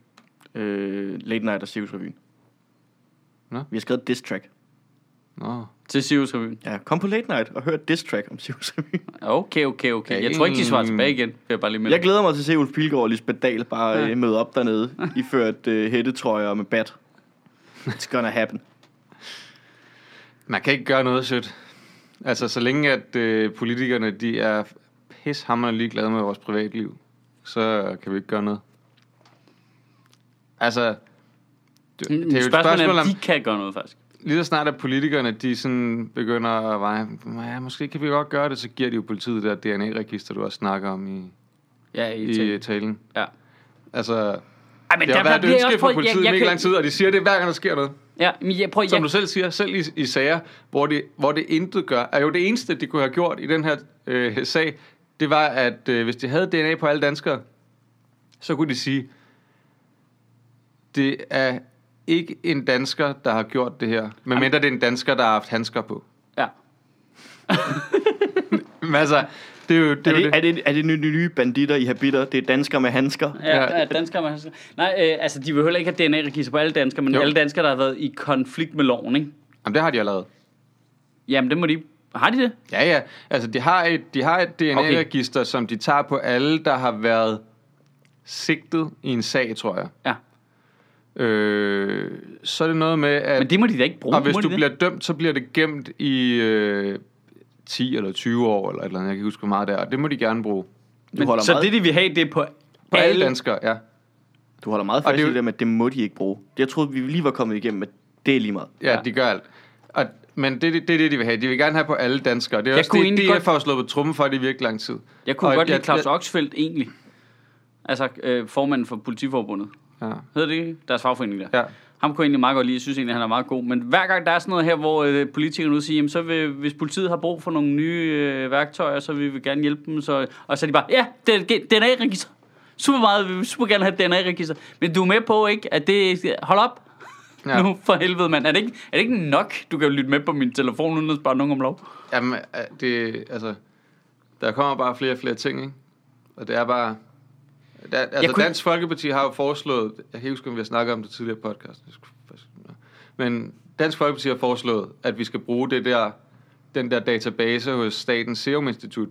S1: Øh, Late Night og Cirkusrevyen.
S2: Nå.
S1: Vi har skrevet diss track.
S2: Nå.
S3: Til Sirius-revyen.
S1: Ja, kom på Late Night og hør et diss track om Cirkusrevyen.
S3: Okay, okay, okay.
S2: Ja,
S3: Jeg tror ikke, de svarer
S2: en-
S3: tilbage igen. Vil jeg bare lige melde.
S1: Jeg glæder mig til at se Ulf Pilgaard og Lisbeth Dahl bare ja. øh, møde op dernede, iført øh, hættetrøjer med bat. It's gonna happen.
S2: Man kan ikke gøre noget sødt. Altså, så længe at øh, politikerne, de er pishammerende ligeglade med vores privatliv, så kan vi ikke gøre noget. Altså, det,
S3: Mm,
S2: det er jo et spørgsmål om,
S3: de kan gøre noget, faktisk.
S2: lige så snart at politikerne, de sådan begynder at veje, ja, måske kan vi godt gøre det, så giver de jo politiet det der DNA-register, du også snakker om i,
S3: Ja, i,
S2: i
S3: Italien.
S2: øh, talen.
S3: Ja.
S2: Altså,
S3: Ej, men der,
S2: det har
S3: der
S2: været et
S3: bliver jeg også
S2: ønske fra
S3: prøvet,
S2: politiet i
S3: jeg, jeg,
S2: ikke
S3: kan-
S2: lang tid, og de siger det hver gang, der sker noget.
S3: Ja, men jeg prøver,
S2: Som
S3: jeg,
S2: du selv siger, selv i, i sager, hvor det, hvor det intet gør, er jo det eneste, de kunne have gjort i den her øh, sag, det var, at øh, hvis de havde DNA på alle danskere, så kunne de sige, det er ikke en dansker, der har gjort det her, medmindre det er en dansker, der har haft handsker på.
S3: ja.
S2: Men altså, det er jo det.
S1: Er
S2: Er
S1: det,
S2: det,
S1: er det, er det nye, nye banditter i habiter? Det er danskere med handsker.
S3: Ja,
S2: Ja.
S3: ja. danskere man... Nej, øh, altså, de vil heller ikke have DNA-register på alle danskere, men
S2: Jo.
S3: jo. alle danskere, der har været i konflikt med loven, ikke?
S2: Jamen, det har de allerede.
S3: Jamen, det må de... Har de det?
S2: Ja, ja. Altså, de har et, de har et DNA-register, okay. som de tager på alle, der har været sigtet i en sag, tror jeg.
S3: Ja.
S2: Øh, så er det noget med, at...
S3: Men det må de da ikke bruge,
S2: og hvis
S3: må
S2: du
S3: de
S2: bliver dømt, så bliver det gemt i øh, 10 eller 20 år, eller et eller andet. Jeg kan ikke huske, hvor meget det er. Og det må de gerne bruge.
S1: Du
S3: det? Men,
S1: holder
S3: så
S1: meget,
S3: det, de vil have, det er på,
S2: På alle, alle danskere, ja.
S1: Du holder meget fast
S2: det
S1: i
S2: er jo-
S1: det der med, at det må de ikke bruge. Jeg troede, vi lige var kommet igennem, men det er lige meget.
S2: Ja,
S3: Ja.
S2: de gør alt. Og, men det, det, det er det, de vil have. De vil gerne have på alle danskere. Det er
S3: Jeg
S2: også
S3: kunne
S2: det,
S3: egentlig
S2: DF
S3: godt-
S2: har jo slået på trummen for det i virkelig lang tid.
S3: Jeg kunne
S2: Og
S3: godt
S2: jeg-
S3: lide Claus
S2: jeg-
S3: Oxfeldt egentlig. Altså øh, formanden for Politiforbundet.
S2: Ja.
S3: Hedder det ikke? Deres fagforening der.
S2: Ja.
S3: Ham kunne jeg egentlig meget godt lide. Jeg synes egentlig, han er meget god. Men hver gang der er sådan noget her, hvor øh, politikerne nu siger, jamen, så vil, hvis politiet har brug for nogle nye øh, værktøjer, så vil vi gerne hjælpe dem. Så, og så er de bare, ja, DNA-register. Super meget, vi vil super gerne have DNA-register. Men du er med på, ikke, at det... Hold op.
S2: Ja.
S3: Ja. Nu for helvede, mand. Er det, ikke, er det ikke nok, du kan lytte med på min telefon, uden at spørge nogen om lov?
S2: Jamen, øh, det, altså, der kommer bare flere og flere ting, ikke? Og det er bare... Der, altså,
S3: kunne-
S2: kunne... Dansk Folkeparti har jo foreslået... Jeg kan ikke huske, om vi har snakket om det tidligere i podcasten. Jeg skulle faktisk- nå. Men Dansk Folkeparti har foreslået, at vi skal bruge det der, den der database hos Statens Serum Institut.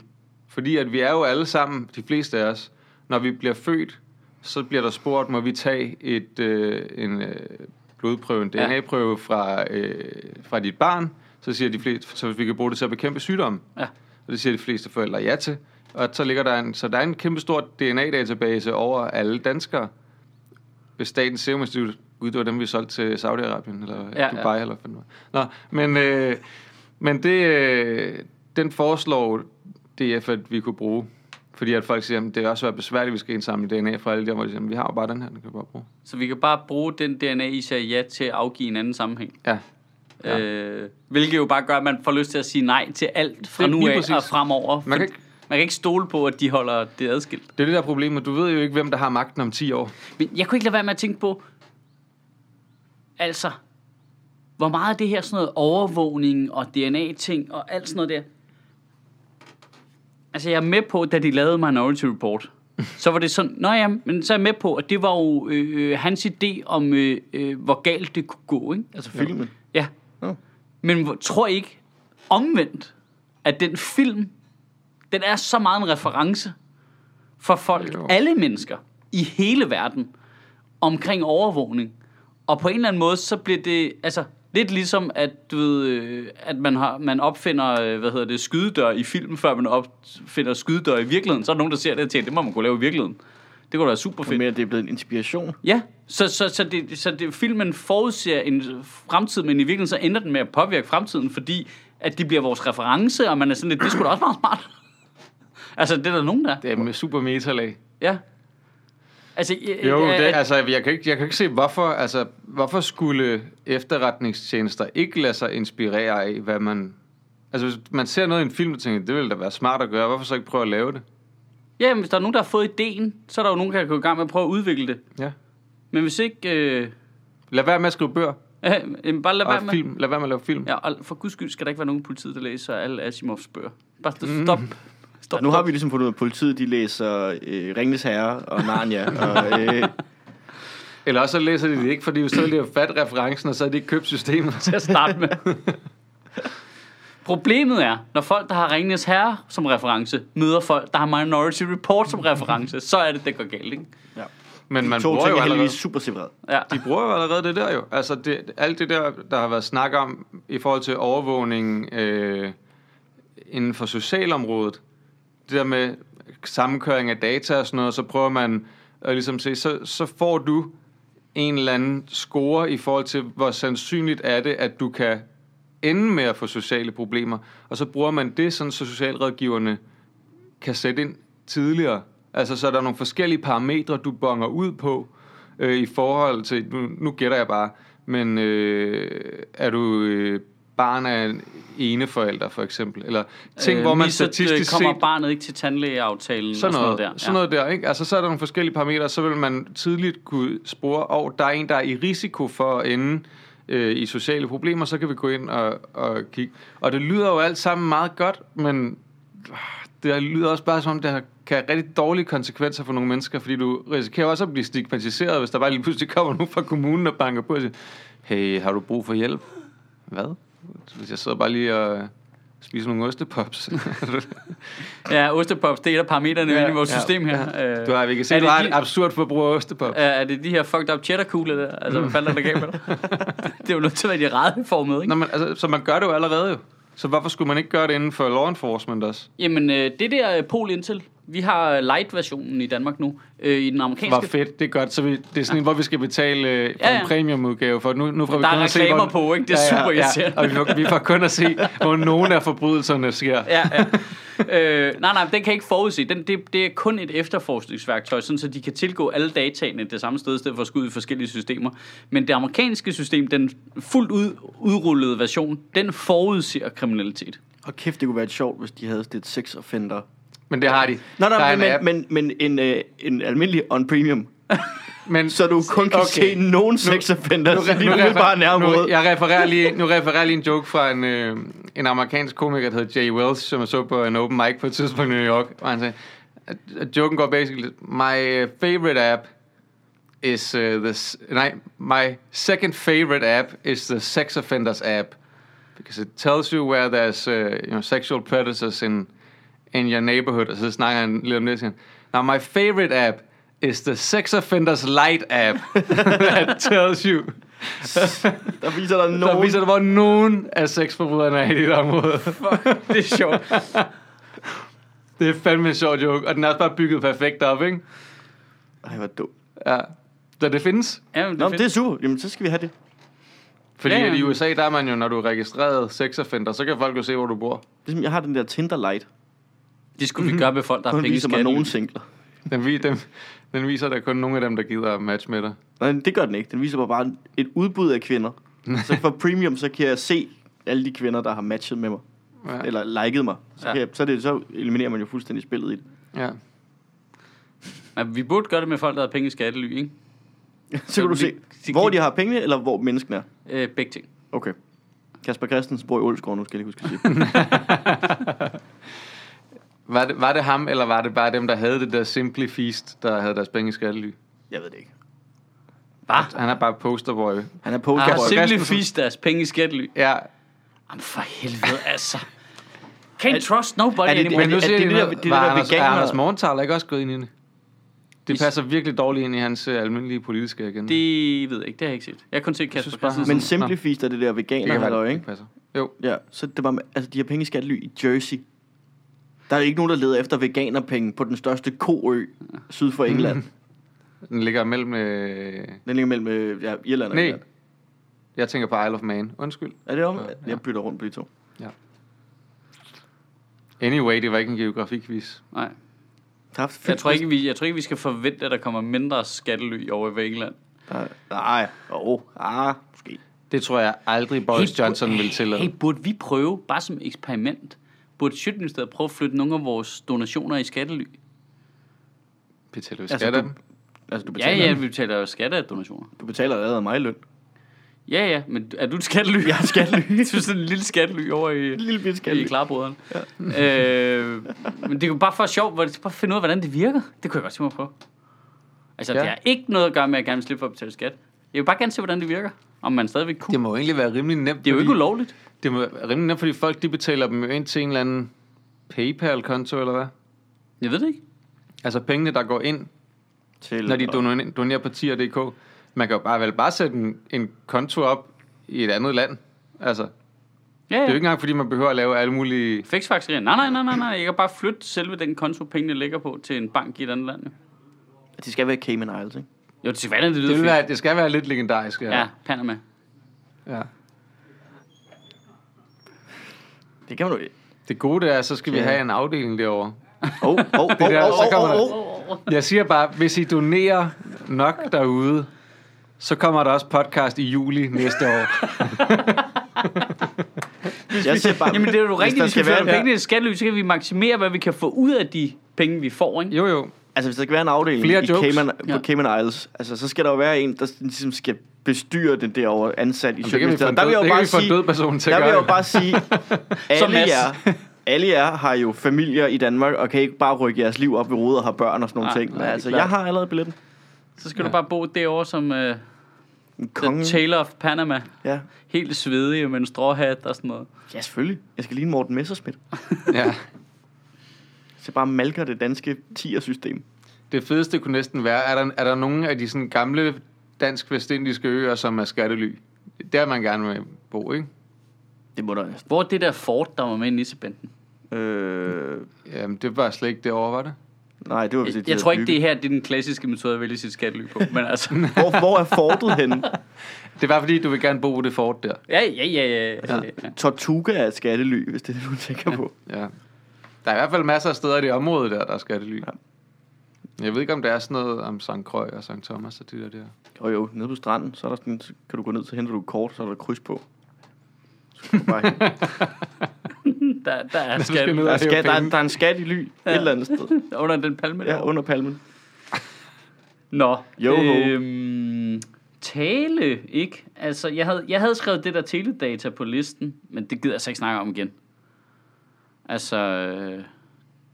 S2: Fordi at vi er jo alle sammen, de fleste af os, når vi bliver født, så bliver der spurgt, må vi tage et, øh, en øh, blodprøve, en
S3: Ja.
S2: DNA-prøve fra, øh, fra dit barn, så siger de fleste, så vi kan bruge det til at bekæmpe sygdomme.
S3: Ja.
S2: Og det siger de fleste forældre ja til. Og så ligger der en, så der er en kæmpe stor DNA-database over alle danskere ved Statens Serum Institut. Gud, det var dem, vi solgte til Saudi-Arabien, eller
S3: Ja,
S2: ja,
S3: ja.
S2: Dubai, ja. eller hvad det var. Nå, men, øh, men det, øh, den foreslår DF, at vi kunne bruge. Fordi at folk siger, at det er også være besværligt, at vi skal indsamle DNA fra alle de her, hvor de siger, "Men vi har jo bare den her, den kan vi bare bruge.
S3: Så vi kan bare bruge den DNA, I sagde ja til at afgive en anden sammenhæng.
S2: Ja, Ja.
S3: Ja. Øh, hvilket jo bare gør, at man får lyst til at sige nej til alt fra
S2: Det er
S3: nu
S2: lige
S3: af
S2: præcis.
S3: og fremover.
S2: Man kan
S3: For-
S2: ikke-
S3: man kan ikke stole på, at de holder det adskilt.
S2: det er det der problem, og du ved jo ikke, hvem der har magten om 10 år.
S3: Men jeg kunne ikke lade være med at tænke på, altså, hvor meget af det her sådan noget overvågning og DNA-ting og alt sådan noget der. Altså, jeg er med på, da de lavede Minority Report, så var det sådan, nå ja, men så er jeg med på, at det var jo øh, hans idé om, øh, øh, hvor galt det kunne gå, ikke?
S1: Altså filmen.
S3: Ja.
S1: Nå.
S3: Men hvor- tror I ikke omvendt, at den film, den er så meget en reference for folk,
S2: Jo.
S3: jo. alle mennesker i hele verden, omkring overvågning. Og på en eller anden måde, så bliver det, altså, lidt ligesom, at, du ved, øh, at man, har, man opfinder, øh, hvad hedder det, skydedør i film, før man opfinder skydedør i virkeligheden. Så er der nogen, der ser det og tænker, det må man kunne lave i virkeligheden. Det kunne da være super fedt.
S1: For mere, det er blevet en inspiration.
S3: Ja, så, så, så, det, så det, filmen forudser en fremtid, men i virkeligheden så ender den med at påvirke fremtiden, fordi at det bliver vores reference, og man er sådan lidt, det skulle da også meget smart. altså, det er der nogen, der er.
S2: Det er med super metalag.
S3: Ja. Altså, øh,
S2: Jo,
S3: øh,
S2: det, altså, jeg kan, ikke, jeg kan ikke se, hvorfor, altså, hvorfor skulle efterretningstjenester ikke lade sig inspirere af, hvad man... Altså, hvis man ser noget i en film, og tænker, det ville da være smart at gøre, hvorfor så ikke prøve at lave det?
S3: Ja, men hvis der er nogen, der har fået ideen, så er der jo nogen, der kan gå i gang med at prøve at udvikle det.
S2: Ja.
S3: Men hvis ikke... Øh,
S2: Lad være med at skrive bøger
S3: øh, jamen, bare lad være
S2: og
S3: med.
S2: film. Lad være med at lave film.
S3: Ja, og for guds skyld skal der ikke være nogen i politiet, der læser alle Asimovs bøger. Bare st- stop. Mm. Stop,
S1: Og nu har vi ligesom fundet ud af, at politiet de læser øh, Ringnes Herre og Narnia. og, øh,
S2: Eller også så læser de det ikke, fordi så vil de jo fat referencen, og så har de ikke købt systemet.
S3: til at starte med. Problemet er, når folk, der har Ringnes Herre som reference, møder folk, der har Minority Report som reference, så er det, det går galt, ikke?
S1: ja.
S2: Men man
S1: Man to
S2: bruger
S1: ting
S2: jo
S1: er
S2: allerede...
S1: heldigvis super separeret.
S3: Ja.
S2: De bruger jo allerede det der jo. Altså det, alt det der, der har været snak om i forhold til overvågning øh, inden for socialområdet. Det der med sammenkøring af data og sådan noget, så prøver man at ligesom se, så, så får du en eller anden score i forhold til, hvor sandsynligt er det, at du kan ende med at få sociale problemer. Og så bruger man det, sådan, så socialrådgiverne kan sætte ind tidligere. Altså, så er der nogle forskellige parametre, du bonger ud på øh, i forhold til, nu, nu gætter jeg bare, men øh, er du øh, barn af en ene forælder, for eksempel? Eller ting, øh, hvor man
S3: misset, øh,
S2: statistisk set...
S3: kommer barnet ikke til tandlægeaftalen
S2: Sådan noget,
S3: og sådan noget der.
S2: Sådan noget der ikke? Altså, så er der nogle forskellige parametre, så vil man tidligt kunne spore, og der er en, der er i risiko for at ende øh, i sociale problemer, så kan vi gå ind og, og kigge. Og det lyder jo alt sammen meget godt, men øh, det lyder også bare som om, det har, kan have rigtig dårlige konsekvenser for nogle mennesker, fordi du risikerer også at blive stigmatiseret, hvis der bare lige pludselig kommer nogen fra kommunen og banker på og siger, hey, har du brug for hjælp? Hvad? Hvis jeg sidder bare lige og spiser nogle ostepops.
S3: Ja, ja ostepops, det er et af parametrene ja, inde i vores ja, system her.
S2: Ja.
S3: Øh,
S2: Du har vi kan se,
S3: er
S2: du
S3: det
S2: har et
S3: de-
S2: absurd forbrug af ostepop.
S3: er, er det de her fucked up cheddar-kugler der? Altså, hvad fanden er der galt med dig? det er jo nødt til at være de rette formede, ikke?
S2: Nå, men, altså, så man gør det jo allerede jo. Så hvorfor skulle man ikke gøre det inden for law enforcement også?
S3: Jamen, øh, det der øh, Pol Intel, vi har øh, light-versionen i Danmark nu, øh, i den amerikanske...
S2: Hvor fedt, det er godt. Så vi, det er sådan en, hvor vi skal betale øh, for
S3: Ja,
S2: ja,
S3: ja.
S2: en premiumudgave. For nu, nu får vi
S3: Der er
S2: kun at se,
S3: reklamer
S2: hvor,
S3: på, ikke? Det er super irriterende.
S2: Og vi får, vi får kun at se, hvor nogle af forbrydelserne sker.
S3: ja, ja. Øh, nej, nej, den kan ikke forudse. Den, det, det er kun et efterforskningsværktøj, sådan så de kan tilgå alle dataene det samme sted, i stedet for at skulle ud i forskellige systemer. Men det amerikanske system, den fuldt ud udrullede version, den forudser kriminalitet.
S1: Og kæft, det kunne være et sjovt, hvis de havde sådan et sex offender.
S2: Men det har de.
S1: Nå,
S2: Der er
S1: nej,
S2: en app.
S1: men, men, men, men en, øh, en almindelig on premium.
S2: men
S1: Så du kun kan
S2: Okay.
S1: okay. se nogen sex offender, så lige nu bare
S2: nu,
S1: nærmere.
S2: jeg refererer lige, nu refererer lige en joke fra en, øh, en amerikansk komiker, der hedder Jay Wells, som jeg så på en open mic på et tidspunkt i New York, hvor han sagde, at, at joken går basically, my øh, favorite app is uh, this, nej, my second favorite app is the sex offenders app, because it tells you where there's uh, you know, sexual predators in, in your neighborhood, og så snakker han lidt om det, og siger, han, now my favorite app is the sex offenders light app that tells you
S1: Der viser der nogen.
S2: der viser det, hvor nogen af sexforbryderne er i dit område.
S3: Fuck, det er sjovt.
S2: Det er fandme en sjov joke, og den er også bare bygget perfekt op, ikke?
S1: Ej, hvor dumt.
S2: Ja. Så det findes.
S3: Jamen, det
S1: Nå,
S3: er
S1: men det er
S3: fedt.
S1: super. Jamen, så skal vi have det.
S2: Fordi
S3: Ja,
S2: ja,
S3: ja.
S2: ja. i USA, der er man jo, når du er registreret sexoffender, så kan folk jo se, hvor du bor.
S1: Ligesom, jeg har den der Tinder Lite.
S3: Det skulle vi gøre med folk, der har
S1: Hun
S3: penge i
S1: viser mig nogen
S3: skatten.
S1: singler.
S2: Den, vi, dem, den viser der kun nogle af dem, der gider at matche med dig.
S1: Nej, det gør den ikke. Den viser mig bare et udbud af kvinder. så for premium, så kan jeg se alle de kvinder, der har matchet med mig.
S2: Ja.
S1: Eller liket mig. Så,
S3: Ja.
S1: kan jeg, så, er det, så eliminerer man jo fuldstændig spillet i det.
S2: Ja.
S3: Ja, vi burde gøre det med folk, der har penge i skattely, ikke?
S1: så kan du
S3: vi-
S1: se,
S3: de-
S1: hvor de har pengene, eller hvor menneskene er.
S3: Øh, begge ting.
S1: Okay. Kasper Christensen bor i Ålsgård, nu skal jeg lige huske at sige. det.
S2: Var det, var det ham, eller var det bare dem, der havde det der Simply Feast, der havde deres penge i skattely?
S1: jeg ved det ikke.
S3: Hvad?
S2: Han er bare posterboy.
S1: Han er
S3: Jeg har
S1: posterboy.
S2: Sim-
S3: simpelthen
S2: Rasmussen.
S3: fist deres penge i skattely.
S2: Ja.
S3: Jamen for helvede, altså. Can't trust nobody
S1: er det-
S3: anymore.
S1: er
S2: Men nu
S1: det-
S2: siger
S1: det
S2: de
S1: det
S2: noget,
S1: der- det
S2: det,
S1: der
S2: det, var Anders, er
S1: veganer-
S2: Anders Morgenthaler ikke også gået ind i det? Det
S3: Hvis-
S2: passer virkelig dårligt ind i hans øh, almindelige politiske agenda.
S3: Det ved jeg ikke, det har jeg ikke set. Jeg har kun set Kasper
S2: synes bare,
S3: Christensen.
S1: Men
S2: Nå.
S1: Simply Feast er det der veganer, halløj, ikke?
S2: passer. Jo.
S1: Ja, så det var, altså, de har penge i skattely i Jersey. Der er ikke nogen, der leder efter veganerpenge på den største koø syd for England.
S2: Den ligger mellem... Øh...
S1: Den ligger mellem øh, ja, Irland og
S2: Nej.
S1: England.
S2: Jeg tænker på Isle of Man. Undskyld.
S1: Er det om?
S2: Ja, ja.
S1: Jeg bytter rundt på de to.
S2: Anyway, det var ikke en geografikvis.
S3: Nej.
S1: har haft
S3: Jeg tror, ikke, vi, jeg tror ikke, vi skal forvente, at der kommer mindre skattely over i England.
S1: Nej, nej, åh, ah, måske.
S2: Det tror jeg aldrig Boris Johnson vil tillade.
S3: Hey, burde vi prøve, bare som eksperiment, burde Sjøtministeriet prøve at flytte nogle af vores donationer i skattely?
S2: Betaler vi
S1: Altså,
S2: skat af
S1: du-
S2: dem?
S1: Altså, du
S3: Ja,
S1: betaler,
S3: ja, vi betaler jo skatte af donationer.
S1: du betaler allerede mig løn.
S3: Ja, ja, men er du et skattely?
S1: Jeg er et skattely.
S3: du er sådan en lille skattely over i,
S1: En lille bit
S3: i
S1: skattely.
S3: klarbrøderne. Ja. øh, men det er jo bare for sjov, hvor det bare finde ud af, hvordan det virker. Det kunne jeg godt tænke mig at prøve. Altså,
S2: Ja.
S3: ja. det har ikke noget at gøre med, at jeg gerne vil slippe for at betale skat. Jeg vil bare gerne se, hvordan det virker. Om man stadigvæk kunne.
S2: Det må jo egentlig være rimelig nemt.
S3: Det er jo ikke
S2: fordi-
S3: ulovligt.
S2: Det må være rimelig nemt, fordi folk de betaler dem jo ind til en eller anden PayPal-konto, eller hvad?
S3: Jeg ved det ikke.
S2: Altså pengene, der går ind,
S1: Til,
S2: når de donerer, donerer partier.dk. Man kan jo bare, vel bare sætte en, en konto op i et andet land. Altså, det
S3: Ja, ja.
S2: er jo ikke engang, fordi man behøver at lave alle mulige...
S3: Fiksfakserier. Nej, nej, nej, nej, nej. Jeg kan bare flytte selve den konto, pengene ligger på, til en bank i et andet land. Jo,
S1: De skal være i Cayman Islands, ikke?
S3: jo det skal være, det lyder
S2: Det, vil
S3: fint.
S2: være, det skal være lidt legendarisk.
S3: Ja, Panama.
S2: ja.
S1: Det kan man jo ikke.
S2: Det gode det er, så skal vi
S1: Ja.
S2: have en afdeling derovre.
S1: Åh, åh, åh, åh,
S2: der, så kommer
S1: åh,
S2: der-
S1: åh, åh.
S2: Jeg siger bare, hvis I donerer nok derude, så kommer der også podcast i juli næste år.
S1: Jeg ser bare...
S3: Jamen, det er jo
S1: Hvis
S3: rigtigt,
S1: der
S3: hvis vi
S1: skal være
S3: flytter
S1: en-
S3: pengene i skattely, så kan vi maksimere, hvad vi kan få ud af de penge, vi får, ikke?
S2: Jo jo,
S1: Altså, hvis der skal være en afdeling
S2: Flere
S1: i
S2: jokes.
S1: Cayman, på
S3: Ja.
S1: Cayman Islands, altså, så skal der jo være en, der ligesom skal bestyre den derovre ansat i
S2: det kan vi få en
S1: Sjøtministeriet. Der vil jeg
S2: død-
S1: jo bare
S2: det kan vi få en
S1: sige,
S2: død person til at
S1: der vil jeg
S2: gøre
S1: jo bare sige, alle
S3: Mads.
S1: jer, alle jer har jo familier i Danmark, og kan ikke bare rykke jeres liv op ved rodet og har børn og sådan nogle
S3: Nej,
S1: ting.
S3: nej,
S1: Men
S3: det er
S1: altså,
S3: klart.
S1: jeg har allerede billetten.
S3: Så skal du bare bo derovre som uh,
S1: En konge.
S3: the Taylor of Panama.
S1: Ja.
S3: Helt svedig med en stråhat og sådan noget.
S1: ja, selvfølgelig. Jeg skal ligne Morten Messerschmidt.
S2: ja.
S1: Så bare malker det danske tiersystem.
S2: Det fedeste kunne næsten være, er der, er der nogen af de sådan gamle dansk vestindiske øer, som er skattely? Der man gerne vil bo, ikke?
S1: Det må der næsten.
S3: Hvor er det der Ford, der var med i Nissebanden?
S1: Øh,
S2: Jamen, det var slet ikke det over, var det?
S1: nej, det var vist
S3: Jeg, jeg tror ikke, det er her det er den klassiske metode at vælge sit skattely på. Men altså,
S1: Hvor, hvor er fortet henne?
S2: Det var fordi, du vil gerne bo i det fort der.
S3: ja, ja, ja, ja. Altså, ja. ja.
S1: Tortuga er et skattely, hvis det er det, du tænker på.
S2: Ja. Der er i hvert fald masser af steder i det område der, der er skattely. Jeg ved ikke, om der er sådan noget om St. Croix og St. Thomas og de der der.
S1: Og jo, nede på stranden, så, er der sådan, så kan du gå ned, så henter du et kort, så er der et kryds på. Så kan du bare hen.
S3: Der, der er
S2: skal
S3: skattely
S2: ned.
S1: der, er
S2: Det er jo
S1: skat, der, er,
S2: penge.
S1: der er en skat i ly ja. et eller andet sted.
S3: under den palme.
S1: Ja, under palmen.
S3: Nå,
S1: Jo, ho.
S3: øhm, tale, ikke? Altså, jeg havde, jeg havde skrevet det der teledata på listen, men det gider jeg så ikke snakke om igen. Altså, øh,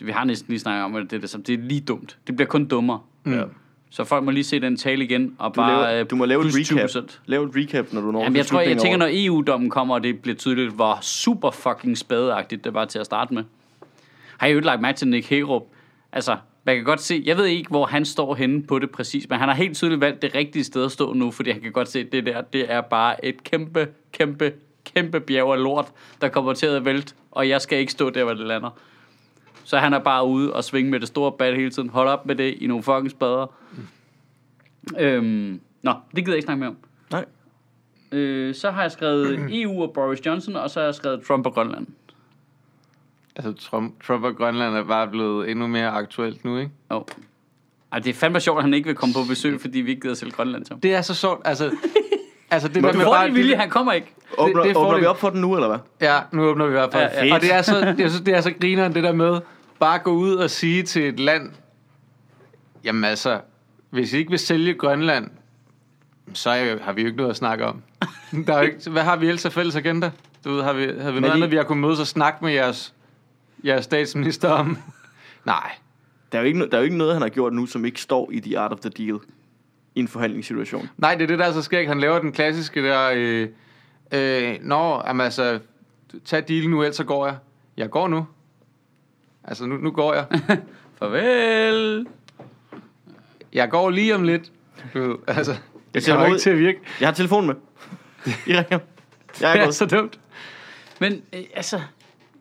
S3: vi har næsten lige snakket om, at det, er det, samme. det er lige dumt. Det bliver kun dummere.
S2: Mm.
S1: Ja.
S3: Så folk må lige se den tale igen, og
S1: Du,
S3: bare
S1: laver,
S3: øh,
S1: du må lave et
S3: plus 20%.
S1: recap. Lav et recap, når du når
S3: Jamen, jeg tror, jeg tænker,
S1: når...
S3: når EU-dommen kommer, og det bliver tydeligt, hvor super fucking spadeagtigt det var til at starte med. Har jeg jo ikke lagt mærke til Nick Herup? Altså, man kan godt se, jeg ved ikke, hvor han står henne på det præcis, men han har helt tydeligt valgt det rigtige sted at stå nu, fordi han kan godt se, at det der, det er bare et kæmpe, kæmpe, kæmpe bjerg af lort, der kommer til at vælte, og jeg skal ikke stå der, hvor det lander. Så han er bare ude og svinge med det store bat hele tiden. Hold op med det i nogle fucking spader. Øhm, nå, det gider jeg ikke snakke mere om.
S1: Nej.
S3: Øh, så har jeg skrevet EU og Boris Johnson, og så har jeg skrevet Trump og Grønland.
S2: Altså, Trump, Trump og Grønland er bare blevet endnu mere aktuelt nu, ikke?
S3: Jo. Ej, det er fandme sjovt, at han ikke vil komme på besøg, fordi vi ikke gider sælge Grønland til ham.
S2: Det er så sjovt, altså... altså det
S1: Men
S2: der
S3: Du
S2: med
S3: får
S2: bare...
S3: din vilje, han kommer ikke.
S1: Åbner,
S2: det
S1: det,
S2: er
S1: det åbner vi
S2: fordel.
S1: op for den nu, eller hvad?
S2: Ja, nu åbner vi i hvert fald.
S3: Ja,
S2: Ja,
S3: ja.
S2: ja. Og det er så, jeg synes, det er så grineren, det der med, bare gå ud og sige til et land, jamen altså, hvis I ikke vil sælge Grønland, så er jo- har vi jo ikke noget at snakke om. Der er jo ikke, hvad har vi ellers af fælles agenda? Du ved, har vi, har vi noget
S1: I-
S2: andet, vi har kunnet mødes og snakke med jeres, jeres statsminister om? Nej.
S1: Der er, jo ikke, no- der er jo ikke noget, han har gjort nu, som ikke står i The Art of the Deal i en forhandlingssituation.
S2: Nej, det er det, der er så skægt. Han laver den klassiske der... Øh, øh, Nå, jamen altså, tag dealen nu, ellers så går jeg. Jeg går nu. Altså, nu, nu går jeg.
S3: Farvel.
S2: jeg går lige om lidt. Du ved, altså, det
S1: ser
S2: kommer
S1: ud-
S2: ikke til at virke.
S1: Jeg har telefonen med. I ringer. Jeg
S2: Det
S1: er
S2: er
S1: gået.
S2: så dumt.
S3: Men øh, altså,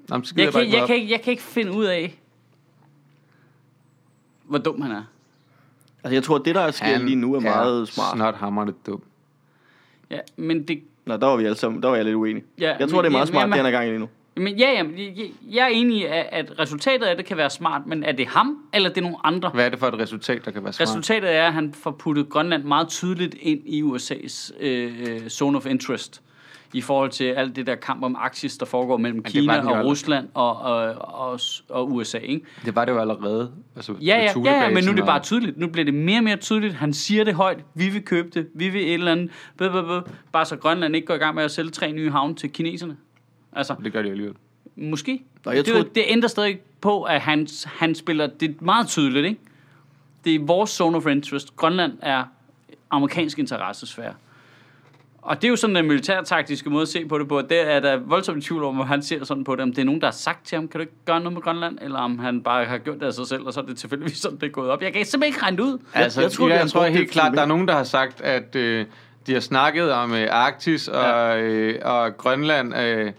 S2: Nå, men så gider
S3: jeg
S2: jeg, bare
S3: kan, jeg, kan
S2: ikke jeg
S3: ikke, jeg kan ikke finde ud af, hvor dum han er.
S1: Altså, jeg tror, det, der sker lige nu, er meget smart.
S2: snart hammerende dum.
S3: Ja, men det...
S1: Nå, der var vi alle sammen. Der var jeg lidt uenig.
S3: Ja,
S1: jeg tror, det er
S3: men-
S1: meget
S3: ja,
S1: smart,
S3: men-
S1: det han er gang i lige nu.
S3: Men ja, jamen, jeg- jeg er enig i, at at resultatet af det kan være smart, men er det ham, eller er det nogle andre?
S2: Hvad er det for et resultat, der kan være smart?
S3: Resultatet er, at han får puttet Grønland meget tydeligt ind i USA's øh, zone of interest i forhold til alt det der kamp om Axis, der foregår mellem
S2: det var
S3: Kina
S2: den
S3: og
S2: jo aldrig.
S3: Rusland og, og, og, og USA. Ikke?
S2: Det var det jo allerede. Altså,
S3: Ja, ja, ja, ja, men nu er
S2: Thulebasen
S3: det bare
S2: og-
S3: tydeligt. Nu bliver det mere og mere tydeligt. Han siger det højt. Vi vil købe det. Vi vil et eller andet. Bøh, bøh, bøh. Bare så Grønland ikke går i gang med at sælge tre nye havne til kineserne. Altså,
S2: Det gør de alligevel.
S3: måske.
S1: Nå, jeg
S3: det,
S1: troede-
S3: det ændrer stadig ikke på, at han, han spiller... Det er meget tydeligt, ikke? Det er vores zone of interest. Grønland er amerikansk interessesfære. Og det er jo sådan en militærtaktiske måde at se på det på. Det er der voldsomt tvivl om, om han ser sådan på det. Om det er nogen, der har sagt til ham, kan du ikke gøre noget med Grønland? Eller om han bare har gjort det af sig selv, og så er det tilfældigvis sådan, det er gået op. Jeg kan simpelthen ikke regne det ud.
S2: Altså,
S1: jeg
S2: jeg,
S1: tror,
S2: tror,
S1: det
S2: jeg,
S1: er
S2: jeg
S1: en
S2: tror
S1: fordel
S2: helt
S1: for
S2: klart,
S1: dem.
S2: der er nogen, der har sagt, at øh, de har snakket om øh, Arktis og,
S3: Ja.
S2: øh, og Grønland øh,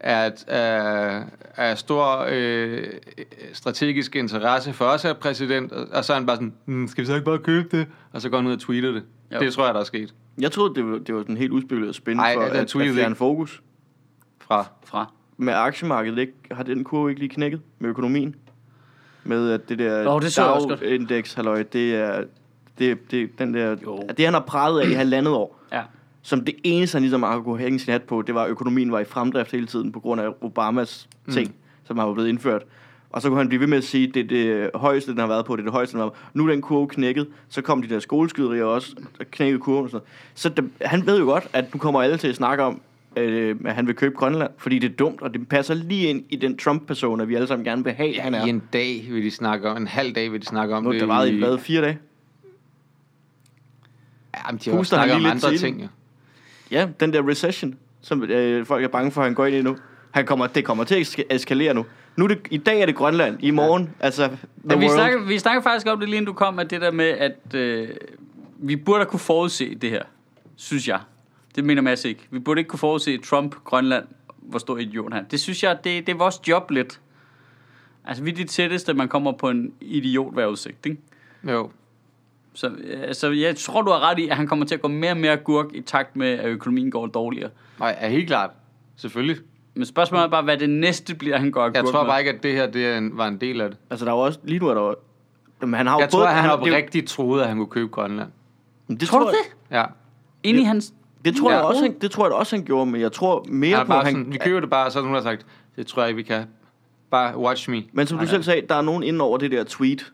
S2: er, et- er, er stor øh, strategisk interesse for os her præsident, og, og så er han bare sådan, "Hmm, skal vi så ikke bare købe det? Og så går han ud og tweeter det.
S3: Jo.
S2: Det tror jeg, der er sket
S1: Jeg troede, det var, det var sådan helt udspekuleret spænd for
S2: Ej,
S1: at,
S2: den
S1: at
S2: tweetede
S1: fjerne
S2: ikke.
S1: fokus.
S2: fra.
S3: Fra.
S1: Med aktiemarkedet ikke, har den kurve ikke lige knækket med økonomien? Med at det der
S3: Nå, det så jeg også godt.
S1: indeks halløj, det er, det, det, den der,
S3: Jo.
S1: at det han har præget af i halvandet år,
S3: Ja.
S1: som det eneste, han ligesom har kunne hænge sin hat på, det var, at økonomien var i fremdrift hele tiden på grund af Obamas ting, som har blevet indført. Og så kunne han blive ved med at sige, at det er det højeste, den har været på, det er det højeste, den har været på. Nu er den kurve knækket, så kom de der skoleskyderier også, der knækkede kurven og sådan noget. Så det, han ved jo godt, at nu kommer alle til at snakke om, øh, at han vil købe Grønland, fordi det er dumt, og det passer lige ind i den Trump-persona, vi alle sammen gerne vil have, han er.
S2: I en dag vil de snakke om, en halv dag vil de snakke om
S1: Nu er
S2: det.
S1: der varet i hvad, fire dage?
S2: Jamen, de har jo
S1: Puster han
S2: snakket om
S1: lige lidt
S2: andre
S1: til den?
S2: ting, jo.
S1: Ja, den der recession, som øh, folk er bange for, at han går ind i nu. Han kommer, det kommer til at eska- eskalere nu. nu er det, I dag er det Grønland, i morgen, ja. altså the
S3: Ja, vi,
S1: world.
S3: snakker, vi snakker faktisk om det lige inden du kom, at det der med, at øh, vi burde have kunne forudse det her, synes jeg. Det mener Mads ikke. Vi burde ikke kunne forudse Trump, Grønland, hvor stor idiot han er. Det synes jeg, det, det er vores job lidt. Altså, vi er det tætteste, man kommer på en idiot hver udsigt, ikke?
S2: Jo.
S3: Så, øh, så jeg tror, du har ret i, at han kommer til at gå mere og mere gurk i takt med, at økonomien går dårligere.
S2: Nej, ja, helt klart. Selvfølgelig.
S3: Men spørgsmålet er bare, hvad det næste bliver, han går
S2: Jeg
S3: gurk
S2: tror
S3: med.
S2: bare ikke, at det her det er en, var en del af det.
S1: Altså, der er jo også, lige nu er der jo, jamen, han har jo
S2: Jeg tror,
S1: både,
S2: at han
S1: er- det er jo-
S2: oprigtigt troede, at han kunne købe Grønland.
S1: Jamen, det
S3: Tror du det?
S2: Ja.
S3: Inde i hans...
S1: Det tror,
S2: Ja.
S1: jeg også, han, det tror jeg da også, han gjorde, men jeg tror
S2: Han
S1: mere
S2: er
S1: på,
S2: bare
S1: han...
S2: sådan, vi køber det bare, og så er der nogen, der har sagt, det tror jeg ikke, vi kan. Bare watch me.
S1: Men som du
S2: Ja.
S1: selv sagde, der er nogen inden over det der tweet,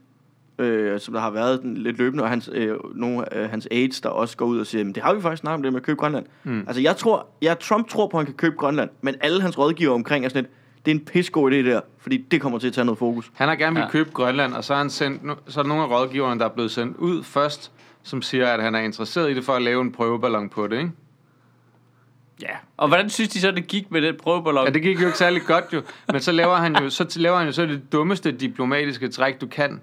S1: øh, som der har været den lidt løbende, og hans, øh, nogle af hans aides, der også går ud og siger, men det har vi faktisk snakket om, det med at købe Grønland. Mm. Altså jeg tror, jeg, Trump tror på, at han kan købe Grønland, men alle hans rådgiver omkring er sådan lidt, det er en pissegod idé det der, fordi det kommer til at tage noget fokus.
S2: Han har gerne vil
S3: Ja.
S2: købe Grønland, og så har han sendt, nu- så er der nogle af rådgiverne, der er blevet sendt ud først, som siger, at han er interesseret i det for at lave en prøveballon på det, ikke?
S3: Ja. Og hvordan synes de så, det gik med den prøveballon?
S2: Ja, det gik jo ikke særlig godt jo, men så laver han jo så, laver han jo så det dummeste diplomatiske træk, du kan.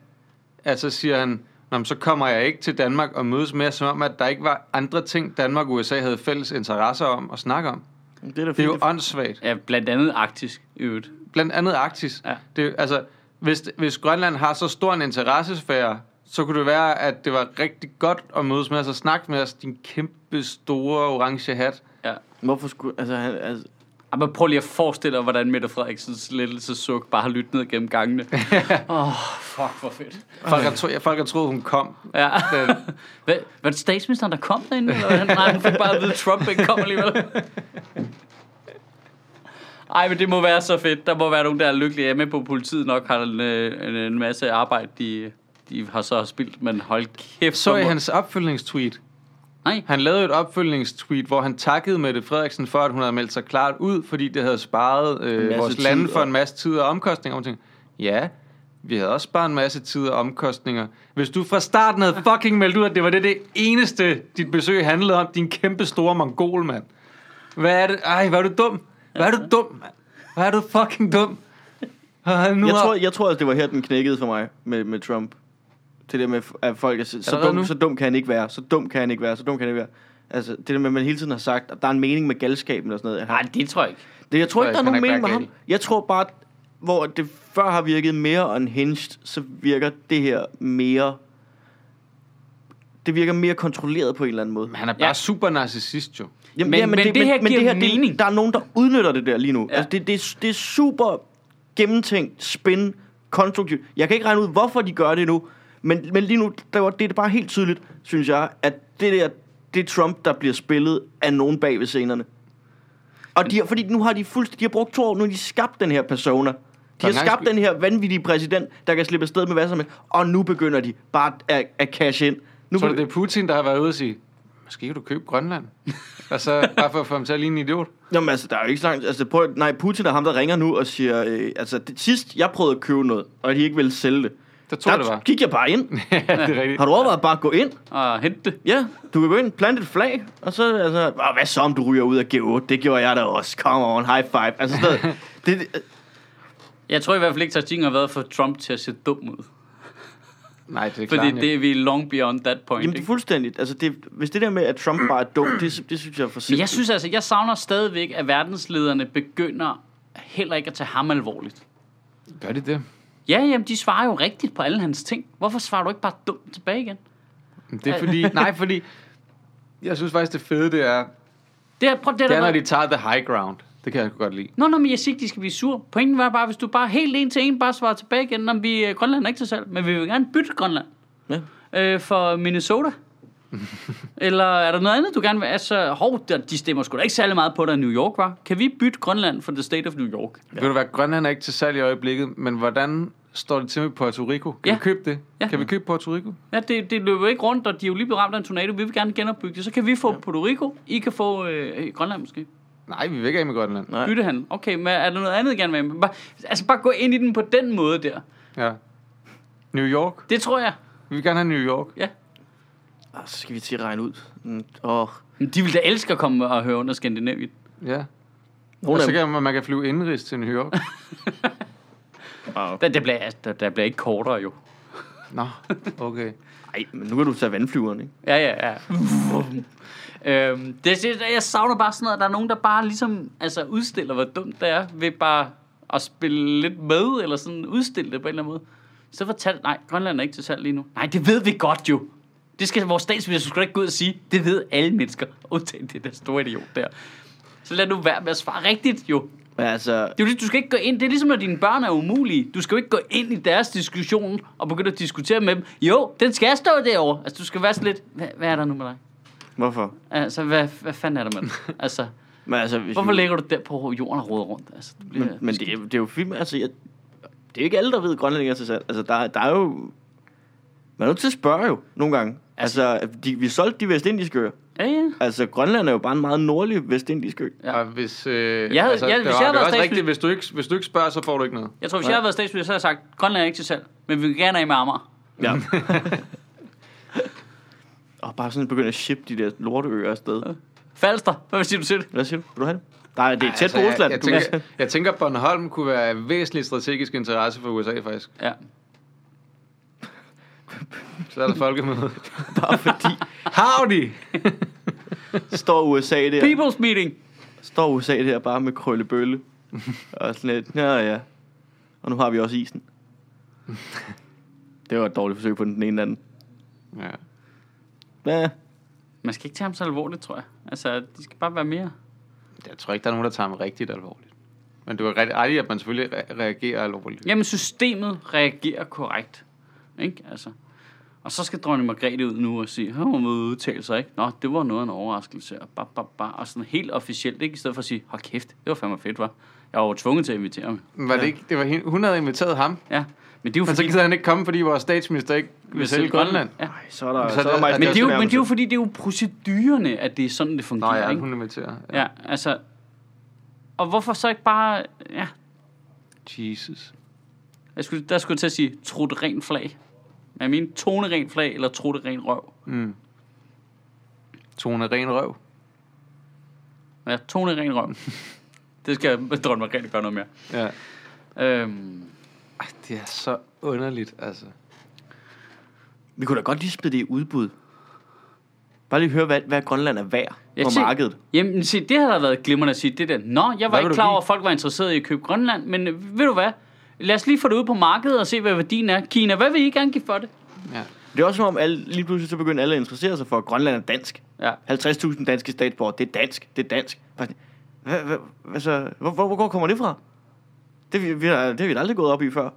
S2: Altså siger han, Nå, men så kommer jeg ikke til Danmark og mødes med jer, som om, at der ikke var andre ting, Danmark og USA havde fælles interesser om at snakke om.
S1: Det er da
S2: Det er
S1: fint.
S2: jo åndssvagt.
S3: Ja, blandt andet arktisk, i øvrigt.
S2: Blandt andet Arktis.
S3: Ja.
S2: Det, er- altså, hvis, hvis Grønland har så stor en interessesfære, så kunne det være, at det var rigtig godt at mødes med os og snakke med os, din kæmpe store orange hat.
S3: Ja.
S1: Hvorfor skulle... Altså, han, altså,
S3: Ej, men prøv lige at forestille dig, hvordan Mette Frederiksens lettelsesuk bare har lyttet ned gennem gangene. Åh, oh, fuck, hvor fedt.
S2: Folk har, tro, ja, folk har troet, hun kom. Øh,
S3: Ja.
S2: Den,
S3: Hvad, var det statsministeren, der kom derinde? Eller? hvad? Nej, hun fik bare at vide, at Trump ikke kom alligevel. Ej, men det må være så fedt. Der må være nogen, der er lykkelige. Jeg er med på, at politiet nok har en, øh, en, en masse arbejde, de, de har så spildt. Men hold kæft.
S2: så
S3: hvor
S2: i
S3: må-
S2: hans opfølgningstweet.
S3: Nej.
S2: Han lavede et opfølgningstweet, hvor han takkede Mette Frederiksen for, at hun havde meldt sig klart ud, fordi det havde sparet øh,
S1: masse
S2: vores
S1: tid
S2: lande for
S1: og-
S2: en masse tid og omkostninger. Og man tænker, ja, vi havde også sparet en masse tid og omkostninger. Hvis du fra starten havde fucking meldt ud, at det var det, det eneste, dit besøg handlede om, din kæmpe store mongol, mand. Hvad er det? Ej, hvor er du dum. Hvad er du dum, mand? Hvor er du fucking dum. Ej, nu
S1: jeg,
S2: har-
S1: tror, jeg tror altså, det var her, den knækkede for mig med, med Trump. Det der med, at folk er så, så,
S2: Allerede
S1: dum,
S2: nu?
S1: så dum kan han ikke være, så dum kan han ikke være, så dum kan han ikke være. Altså, det der med, at man hele tiden har sagt, at der er en mening med galskaben og sådan noget.
S3: Nej, det tror jeg ikke.
S1: Det, jeg tror
S2: Så
S1: ikke, der er
S2: kan
S1: nogen
S2: han
S1: mening
S2: ikke
S1: med
S2: være
S1: ham. Jeg tror bare, at hvor det før har virket mere unhinged, så virker det her mere det virker mere kontrolleret på en eller anden måde.
S2: Han er bare
S3: Ja.
S2: ja. super narcissist jo.
S1: Jamen,
S3: Men- men det her giver
S1: Det,
S3: mening.
S1: der er nogen, der udnytter det der lige nu.
S3: Ja.
S1: Ja. Altså, det, det, er- det er super gennemtænkt, spin, konstruktivt. Jeg kan ikke regne ud, hvorfor de gør det nu, men, men lige nu, der var, det er bare helt tydeligt, synes jeg, at det der, det er Trump, der bliver spillet af nogen bag ved scenerne. Og de, har- fordi nu har de fuldstændig, de har brugt to år, nu har de skabt den her persona. De
S2: For
S1: har
S2: en gang
S1: skabt den her vanvittige præsident, der kan slippe afsted med hvad som helst, og nu begynder de bare at, at cash ind. Nu
S2: Tror du,
S1: begy-
S2: det er Putin, der har været ude og sige, måske kan du købe Grønland? og så bare for at få ham til at ligne en idiot.
S1: Jamen altså, der er jo ikke så langt... Altså, prøv, nej, Putin er ham, der ringer nu og siger... Øh, altså, det, sidst jeg prøvede at købe noget, og de ikke ville sælge det.
S2: Der tror jeg,
S1: der
S2: det var.
S1: gik jeg bare ind.
S2: ja, det er rigtigt.
S1: Har du overvejet bare at gå ind?
S3: Og hente det.
S1: Ja, du kan gå ind, plante et flag, og så... Altså, "Åh, hvad så, om du ryger ud af G8? Det gjorde jeg da også. Come on, high five. Altså, sådan noget. det, det,
S3: Jeg tror i hvert fald ikke, taktikken har været for Trump til at se dum ud.
S2: Nej, det er klart.
S3: Fordi det er vi er long beyond that point.
S1: jamen, det er
S3: ikke?
S1: fuldstændigt. Altså, det, hvis det der med, at Trump bare er dum, det, det synes jeg er for
S3: Men
S1: sindssygt.
S3: jeg synes altså, jeg savner stadigvæk, at verdenslederne begynder heller ikke at tage ham alvorligt.
S2: Gør de det?
S3: Ja, jamen, de svarer jo rigtigt på alle hans ting. Hvorfor svarer du ikke bare dumt tilbage igen?
S2: Men Det er fordi... nej, fordi... Jeg synes faktisk, det fede, det er,
S3: Det her, prøv, det,
S2: det er,
S3: der,
S2: når
S3: det
S2: de tager the high ground. Det kan jeg sgu godt lide.
S3: Nå, nå, men jeg siger ikke, de skal blive sure. Pointen var bare, hvis du bare helt en til en bare svarer tilbage igen, når vi øh, Grønland er ikke til salg, men vi vil gerne bytte Grønland
S1: Ja.
S3: øh, for Minnesota. Eller er der noget andet, du gerne vil? Altså, hov, der- de stemmer sgu da ikke særlig meget på, der New York var. Kan vi bytte Grønland for the state of New York?
S2: Ja. Ved du hvad, Grønland er ikke til salg i øjeblikket, men hvordan står det til med Puerto Rico? Kan
S3: Ja.
S2: vi købe det?
S3: Ja.
S2: Kan vi købe Puerto Rico?
S3: Ja, det, det løber ikke rundt, og de er jo lige blevet ramt af en tornado. Vi vil gerne genopbygge det. Så kan vi få Puerto Rico. I kan få øh, Grønland måske.
S2: Nej, vi vil ikke af med Grønland.
S1: Nej.
S3: Byttehandel. Okay, men er der noget andet, I gerne vil have med? Bare, altså, bare gå ind i den på den måde der.
S2: Ja. New York.
S3: Det tror jeg.
S2: Vi vil gerne have New York.
S3: Ja.
S1: Ah, så skal vi til at regne ud. Mm, Åh,
S3: Men De vil da elske at komme og høre under Skandinavien.
S2: Ja. Og
S1: nogen af
S2: så
S1: dem.
S2: kan man, man kan flyve indenrigs til New York.
S1: Ah,
S3: Der, der, bliver, altså, der, der bliver ikke kortere jo.
S2: Nå, okay.
S1: Ej, men nu kan du tage vandflyveren, ikke?
S3: Ja, ja, ja. øhm, det, det, jeg savner bare sådan noget, at der er nogen, der bare ligesom altså, udstiller, hvor dumt det er, ved bare at spille lidt med, eller sådan udstille det på en eller anden måde. Så fortalte, nej, Grønland er ikke til salg lige nu. Nej, det ved vi godt jo. Det skal vores statsminister skulle ikke gå ud og sige. Det ved alle mennesker. Undtagen det der store idiot der. Så lad nu være med at svare rigtigt jo.
S1: Men altså,
S3: Det er jo det, du skal ikke gå ind. Det er ligesom, når dine børn er umulige. Du skal jo ikke gå ind i deres diskussion og begynde at diskutere med dem. Jo, den skal stå derovre. Altså, du skal være sådan lidt, hvad, hvad er der nu med dig?
S1: hvorfor?
S3: Altså, hvad, hvad fanden er der med dig? Altså,
S1: Men altså, hvis
S3: hvorfor
S1: vi-
S3: ligger du der på jorden og roder rundt? Altså, du bliver,
S1: Men, men det, er- det er jo fint, altså, jeg, det er ikke alle, der ved grønlændinge er til salg. Altså, der, der er jo... Man er nødt til at spørge jo, nogle gange.
S3: Altså-
S1: Altså, de, vi solgte de vestindiske øer.
S3: Ja, ja.
S1: Altså, Grønland er jo bare en meget nordlig vestindisk ø.
S3: Ja.
S2: Ja. Og hvis, øh,
S3: Jeg havde-
S2: altså,
S3: jeg-
S2: det
S3: hvis
S2: var-
S3: jeg havde
S2: det
S3: været
S2: er også
S3: statsminister-
S2: rigtigt, hvis du, ikke, hvis du ikke spørger, så får du ikke noget.
S3: Jeg tror, hvis jeg havde været statsminister, så havde jeg sagt, Grønland er ikke til salg, men vi vil gerne af med Amager.
S1: Ja. og bare sådan begynde at ship de der lorteøer afsted.
S3: Falster, hvad siger du til det?
S1: Hvad siger du? Vil du have det? Nej, det er tæt
S2: altså,
S1: på Rusland.
S2: Jeg, jeg,
S1: du kan-
S2: tænker, jeg tænker, at Bornholm kunne være af væsentlig strategisk interesse for USA, faktisk.
S3: Ja.
S2: Så er der folkemøde.
S1: bare fordi
S2: Howdy!
S1: står USA der.
S3: People's meeting.
S1: Står USA der bare med krøllebølle. og sådan lidt, ja ja. Og nu har vi også isen. Det var et dårligt forsøg på den ene eller anden.
S2: Ja.
S1: Ja.
S3: Man skal ikke tage ham så alvorligt, tror jeg. Altså, de skal bare være mere.
S2: Jeg tror ikke, der er nogen, der tager ham rigtigt alvorligt. Men det var rigtig ærligt, at man selvfølgelig re- reagerer alvorligt.
S3: Jamen, systemet reagerer korrekt. Ikke? Altså. Og så skal dronning Margrethe ud nu og sige, her må man udtale sig, ikke? Nå, det var noget af en overraskelse. Og, bare, bare, bare. og sådan helt officielt, ikke? I stedet for at sige, hold kæft, det var fandme fedt, var. Jeg var jo tvunget til at invitere ham.
S2: Men Var det ikke, det var hende, hun havde inviteret ham,
S3: Ja, men det er jo
S2: men så
S3: fordi...
S2: gider han ikke komme, fordi vores statsminister ikke vil sælge Grønland.
S3: Ja.
S1: Ej, så er der,
S2: Så
S1: så,
S2: er
S1: så er
S2: det-
S1: der
S2: er
S1: meget
S3: Men, det er jo, men det er jo
S1: fornærmelse.
S3: fordi, det er jo procedurerne, at det er sådan, det
S2: Nå
S3: fungerer,
S2: ja,
S3: ikke?
S2: hun inviterer. Ja.
S3: Ja, altså... Og hvorfor så ikke bare... Ja,
S2: Jesus.
S3: jeg skulle, der skulle jeg til at sige, tro det rent flag. Jeg mener, tone rent flag, eller tro det rent røv.
S2: Mm. Tone ren røv.
S3: Ja, tone ren røv. det skal dronning Margrethe gøre noget mere.
S2: Ja.
S3: Øhm,
S2: Ej, det er så underligt, altså.
S1: Vi kunne da godt lige smide det i udbud. Bare lige høre, hvad, hvad Grønland er værd på
S3: se-
S1: markedet.
S3: Jamen, se, det har da været glimrende at sige. Det der, nå, jeg var
S2: Hvad vil
S3: ikke
S2: du
S3: klar
S2: give?"
S3: over, at folk var interesserede i at købe Grønland, men øh, ved du hvad? Lad os lige få det ud på markedet og se, hvad værdien er. Kina, hvad vil I gerne give for det?
S2: Ja.
S1: Det er også som om, alle, lige pludselig så begynder alle at interessere sig for, at Grønland er dansk.
S3: Ja.
S1: 50.000 danske statsborgere, det er dansk, det er dansk. Bare sådan, Hvad, hvad, altså, hvor, hvor, hvor kommer det fra? Det, vi, vi har, det har vi da aldrig gået op i før.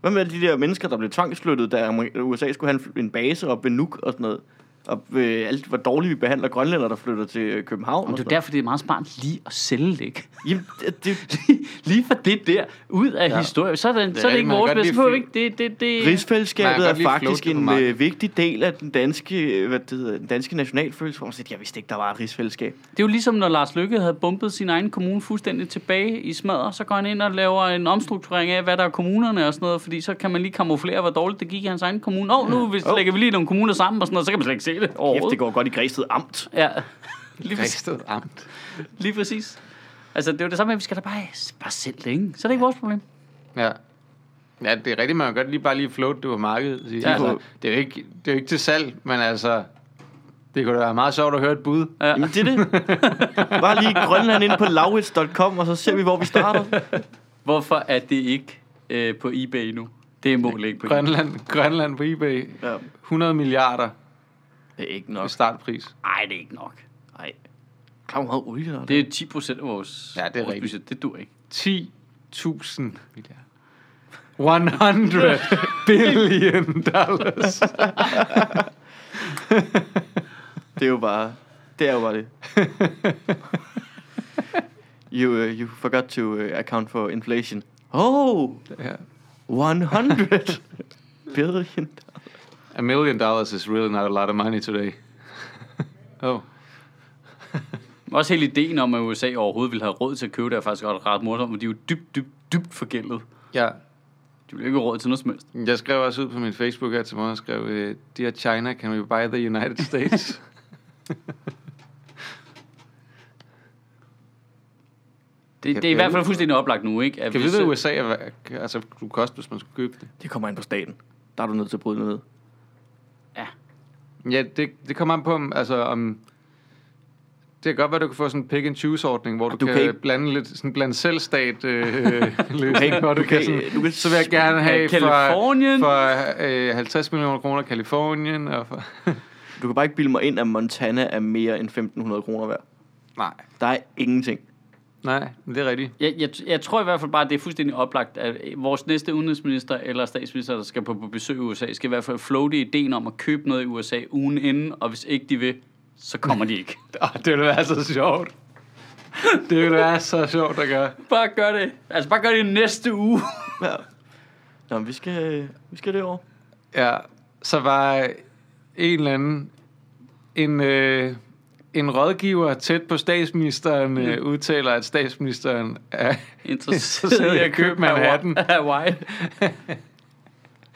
S1: Hvad med alle de der mennesker, der blev tvangsflyttet, da Ameri- USA skulle have en, en base op ved Nuuk og sådan noget? Og øh, alt, hvor dårligt vi behandler grønlænder, der flytter til øh, København.
S3: Men
S1: Og
S3: det er jo
S1: sådan
S3: derfor, det er meget smart lige at sælge det, ikke?
S1: noget. Jamen, det, det,
S3: lige for det der, ud af ja. historien, så er det, så er det
S2: rigtig
S3: ikke
S2: meget
S3: vores
S2: godt
S3: bedste
S2: lige
S3: på,
S2: fi-
S3: ikke? Det, det, det,
S2: Man kan
S1: Rigsfællesskabet
S2: godt
S1: er
S2: lige
S1: faktisk
S2: float det på
S1: en
S2: marken.
S1: øh, vigtig del af den danske, øh, hvad det hedder, den danske nationalfølelse, hvor man siger, jeg vidste ikke, der var et rigsfællesskab.
S3: det er jo ligesom, når Lars Lykke havde bumpet sin egen kommune fuldstændig tilbage i smadret, så går han ind og laver en omstrukturering af, hvad der er kommunerne og sådan noget, fordi så kan man lige kamuflere, hvor dårligt det gik i hans egen kommune. Åh, oh, nu hvis,
S1: Åh.
S3: lægger vi lige nogle kommuner sammen og sådan noget, så kan man slet ikke se det
S1: Kæft, det
S3: overhovedet.
S1: går godt i Græsted Amt.
S3: Ja, lige præcis.
S2: Græsted Amt.
S3: Lige præcis. Altså, det er jo det samme, med, at vi skal da bare, bare sælge det, ikke? Så er det ikke vores problem.
S2: Ja. Ja, det er rigtigt, man kan godt lige bare lige float det på markedet. Sige.
S3: Ja.
S2: Ja. Altså, det, er jo ikke, det er jo ikke til salg, men altså, det kunne da være meget sjovt at høre et bud.
S3: Ja.
S1: Jamen, det er det. Bare lige Grønland ind på lavits.com, og så ser vi, hvor vi starter.
S3: Hvorfor er det ikke øh, på eBay nu? Det er målet ikke på eBay.
S2: Grønland, Grønland på eBay.
S1: Ja.
S2: 100 milliarder
S1: Det er ikke nok.
S2: i startpris.
S3: Nej, det er ikke nok.
S1: Nej. Klar, hvor meget olie der er.
S3: Det er 10 procent af vores,
S2: Ja, det er
S3: vores
S2: rigtigt.
S3: budget. Det dur ikke.
S2: 10.000 milliarder. 100 billion dollars.
S1: Det er jo bare... Det er jo bare det. You, uh, you forgot to uh, account for inflation. Oh,
S2: Ja.
S1: 100 billion.
S2: A million dollars is really not a lot of money today. oh.
S3: Også hele ideen om, at USA overhovedet ville have råd til at købe det, er faktisk ret, ret morsomt, for de er jo dybt, dybt, dybt forgældet.
S2: Ja.
S3: De vil jo ikke have råd til noget som helst.
S2: Jeg skrev også ud på min Facebook her til morgen, jeg skrev, øh, Dear China, can we buy the United States?
S3: Det, det er i hvert fald fuldstændig oplagt nu, ikke? At
S2: kan vi
S3: hvis-
S2: vide, at USA er, hvad- altså, kunne koste, hvis man skulle købe det?
S1: Det kommer ind på staten. Der er du nødt til at bryde ned.
S3: Ja.
S2: Ja, det, det kommer an på, om- altså om... Det kan godt være, du kan få sådan en pick and choose ordning, hvor du,
S1: Du
S2: du
S1: kan
S2: kan,
S1: ikke-
S2: blande lidt, sådan blandt selv stat øh, løsning, hvor du,
S1: du
S2: kan,
S1: kan-
S2: sådan,
S1: du kan-
S2: så vil jeg gerne have
S3: Californien.
S2: for, for øh, 50 millioner kroner Kalifornien, og for,
S1: Du kan bare ikke bilde mig ind, at Montana er mere end 1.500 kroner værd.
S2: nej,
S1: Der er ingenting.
S2: nej, men det er rigtigt.
S3: Jeg, jeg, jeg tror i hvert fald bare, at det er fuldstændig oplagt, at vores næste udenrigsminister eller statsminister, der skal på, på besøg i USA, skal i hvert fald floate ideen om at købe noget i USA ugen inden, og hvis ikke de vil, så kommer de ikke.
S2: Åh, det ville være så sjovt. Det ville være så sjovt at gøre.
S3: bare gør det. Altså, bare gør det næste uge.
S1: Ja. Nå, men vi skal, øh, vi skal det over.
S2: Ja, så var en eller anden, en, øh, en rådgiver tæt på statsministeren, øh,
S3: Mm.
S2: udtaler, at statsministeren er...
S3: Interesseret i at købe Manhattan. Hawaii.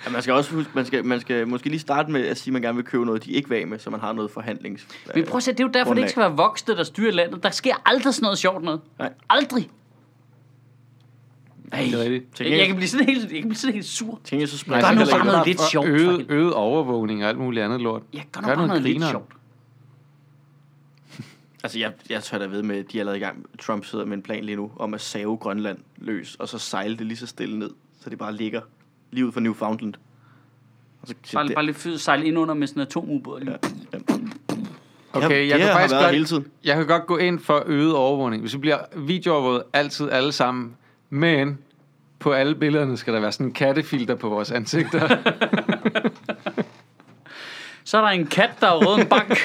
S1: Ja, man skal også huske, man skal, man skal måske lige starte med at sige, at man gerne vil købe noget, de ikke vil af med, så man har noget forhandlings...
S3: Men prøv at se, det er jo derfor, det ikke skal være voksne, der styrer landet. Der sker aldrig sådan noget sjovt noget.
S1: Nej.
S3: Aldrig. Ej,
S2: Det er rigtigt.
S1: Til
S3: jeg,
S1: gengæld-
S3: jeg, kan blive sådan helt, jeg kan blive sådan helt sur.
S1: Tænk, jeg så
S3: Gør
S1: spredt.
S3: nu
S1: Der er
S3: bare noget lidt
S2: Og
S3: sjovt, for
S2: Øget,
S3: helvede.
S2: øget overvågning og alt muligt andet lort.
S3: Jeg gør, nok bare noget lidt
S2: grineren.
S3: sjovt.
S1: Altså, jeg, jeg tør da ved med, at de er allerede i gang. Trump sidder med en plan lige nu om at save Grønland løs, og så sejle det lige så stille ned, så det bare ligger lige ud for Newfoundland. Og så,
S3: Bare, bare lidt fyr, sejle ind under med sådan en atomubåd. Ja.
S2: Okay, jeg
S1: det
S2: kan
S1: har
S2: faktisk
S1: været
S2: godt,
S1: hele tiden.
S2: jeg kan godt gå ind for øget overvågning. Hvis vi bliver videoovervåget altid alle sammen, men på alle billederne skal der være sådan en kattefilter på vores ansigter.
S3: Så er der en kat, der har rød en bank.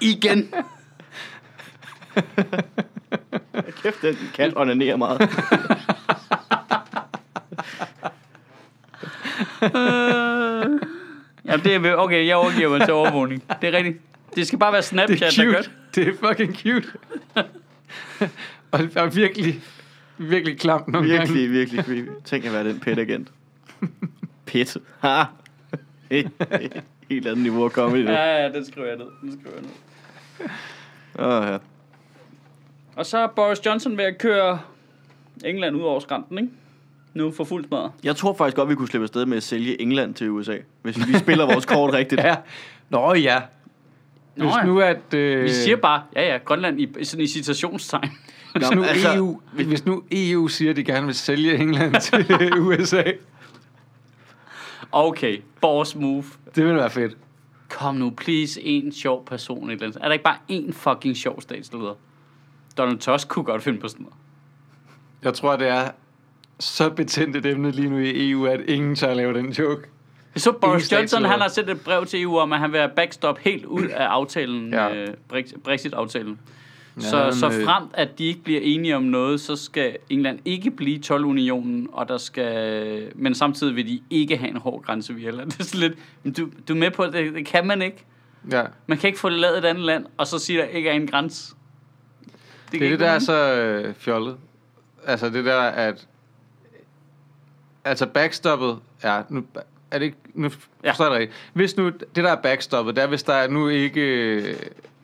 S3: Igen.
S1: Kæft, den kat onanerer meget.
S3: Øh. Ja, det er, ved- okay, jeg overgiver mig til overvågning. Det er rigtigt. Det skal bare være Snapchat,
S2: Det er
S3: der gør
S2: cute. Det er fucking cute. og, og virkelig, virkelig klamt nogle gange.
S1: Virkelig, virkelig creepy. Tænk at være den pet agent. Pet. Ha. Helt andet niveau at komme i det.
S3: Ja, ja, den skriver jeg ned. Den skriver jeg ned.
S1: Åh, ja.
S3: Og så er Boris Johnson ved at køre England ud over skrænten, ikke? Nu for fuldt smadret.
S1: Jeg tror faktisk godt, vi kunne slippe afsted med at sælge England til USA, hvis vi lige spiller vores kort rigtigt.
S2: Ja. Nå ja.
S3: Nå
S2: Hvis
S3: ja.
S2: nu at... Øh,
S3: Vi siger bare, ja ja, Grønland i, sådan i citationstegn.
S2: hvis,
S1: Nå,
S2: nu E
S1: altså,
S2: EU, E hvis nu EU siger, at de gerne vil sælge England til USA.
S3: Okay, boss move.
S2: Det ville være fedt.
S3: Kom nu, please, en sjov person. Et eller andet. Er der ikke bare en fucking sjov statsleder? Donald Tusk kunne godt finde på sådan noget.
S2: Jeg tror, det er så betændt et emne lige nu i EU, at ingen tør lave den joke.
S3: Så Boris
S2: statsleder.
S3: Johnson, han har sendt et brev til EU om, at han vil have backstop helt ud af aftalen,
S2: Ja.
S3: ja. øh, Brex- Brexit-aftalen. Så,
S2: Ja, men,
S3: så
S2: øh,
S3: fremt, at de ikke bliver enige om noget, så skal England ikke blive 12-unionen, og der skal, men samtidig vil de ikke have en hård grænse ved Irland. Det er sådan lidt, men du, du er med på, at det, det kan man ikke.
S2: Ja.
S3: Man kan ikke forlade et andet land, og så sige, at der ikke er en grænse.
S2: Det,
S3: kan
S2: det er det,
S3: ikke
S2: der er
S3: være.
S2: så øh, fjollet. Altså det der, at... Altså backstoppet er... Nu, er det ikke... Nu
S3: Ja.
S2: ja. forstår jeg det rigtigt. Hvis nu... Det der er backstoppet, det er, hvis der nu ikke... øh,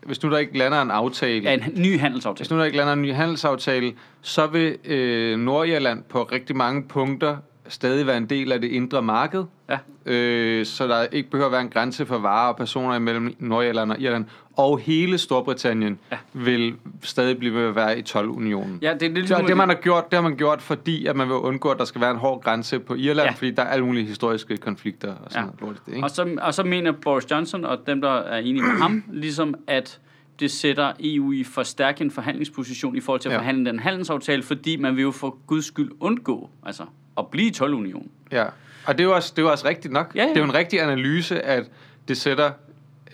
S2: Hvis nu der ikke lander en aftale...
S3: Ja, en ny
S2: Hvis
S3: handelsaftale.
S2: nu der ikke lander en ny handelsaftale, så vil øh, Nordjylland på rigtig mange punkter stadig være en del af det indre marked.
S3: Ja.
S2: Øh, så der ikke behøver at være en grænse for varer og personer imellem Nordjylland og Irland. Og hele Storbritannien ja. vil stadig blive ved at være i 12-unionen.
S3: Ja, det er lidt
S2: Så
S3: ligesom-
S2: det, man har gjort, det har man gjort, fordi at man vil undgå, at der skal være en hård grænse på Irland,
S3: Ja.
S2: ja. fordi der er alle mulige historiske konflikter og
S3: Ja.
S2: sådan ja. noget. lort i det, Ikke?
S3: Og så, og så mener Boris Johnson og dem, der er enige med ham, ligesom at det sætter EU i for stærk en forhandlingsposition i forhold til at ja.
S2: Ja.
S3: forhandle den handelsaftale, fordi man vil jo for guds skyld undgå altså, at blive 12 union.
S2: Ja, og det er jo også, det er jo også rigtigt nok.
S3: Ja, ja.
S2: Det er jo en rigtig analyse, at det sætter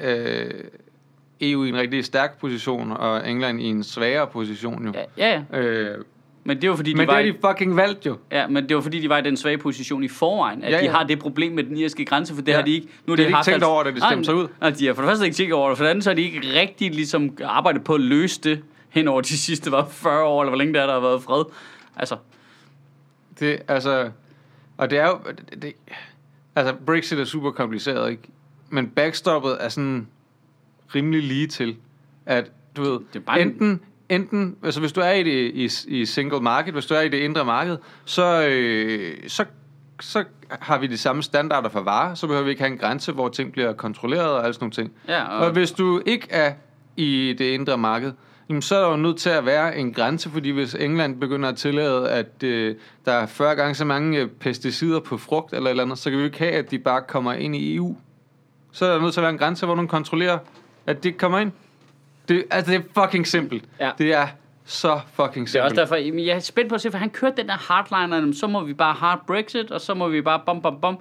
S2: øh, EU i en rigtig stærk position, og England i en svagere position jo.
S3: Ja, ja, ja.
S2: Øh,
S3: Men det var fordi, de
S2: men det
S3: var
S2: har
S3: i,
S2: de fucking valgt jo.
S3: ja, men det var fordi, de var i den svage position i forvejen, at ja,
S2: Ja,
S3: ja. de
S2: ja.
S3: har det problem med den irske grænse, for det
S2: Ja.
S3: har de ikke. Nu
S2: Det har de ikke
S3: haft
S2: tænkt
S3: altså-
S2: over, da de
S3: Nej,
S2: stemte sig ud.
S3: Nej, de har for det første ikke tænkt over det, for det andet så har de ikke rigtig ligesom arbejdet på at løse det hen over de sidste var 40 år, eller hvor længe det er, der har været fred. Altså,
S2: Det, altså, og det er jo... Det, det, altså, Brexit er super kompliceret, ikke? Men backstoppet er sådan rimelig lige til, at du ved,
S3: det er bare en-
S2: enten, enten, altså hvis du er i det i, i single market, hvis du er i det indre marked, så, øh, så, så har vi de samme standarder for varer, så behøver vi ikke have en grænse, hvor ting bliver kontrolleret og alle sådan nogle ting.
S3: Ja, og-
S2: og, og hvis du ikke er i det indre marked, jamen, så er der jo nødt til at være en grænse, fordi hvis England begynder at tillade, at øh, der er 40 gange så mange øh, pesticider på frugt eller et eller andet, så kan vi jo ikke have, at de bare kommer ind i EU. Så er der nødt til at være en grænse, hvor nogen kontrollerer, at de ikke kommer ind. Det, altså, det er fucking simpelt.
S3: Ja.
S2: Det er så fucking simpelt.
S3: Det er også derfor, jamen, jeg er spændt på at se, for han kørte den der hardliner, jamen, så må vi bare hard Brexit, og så må vi bare bom, bom, bom.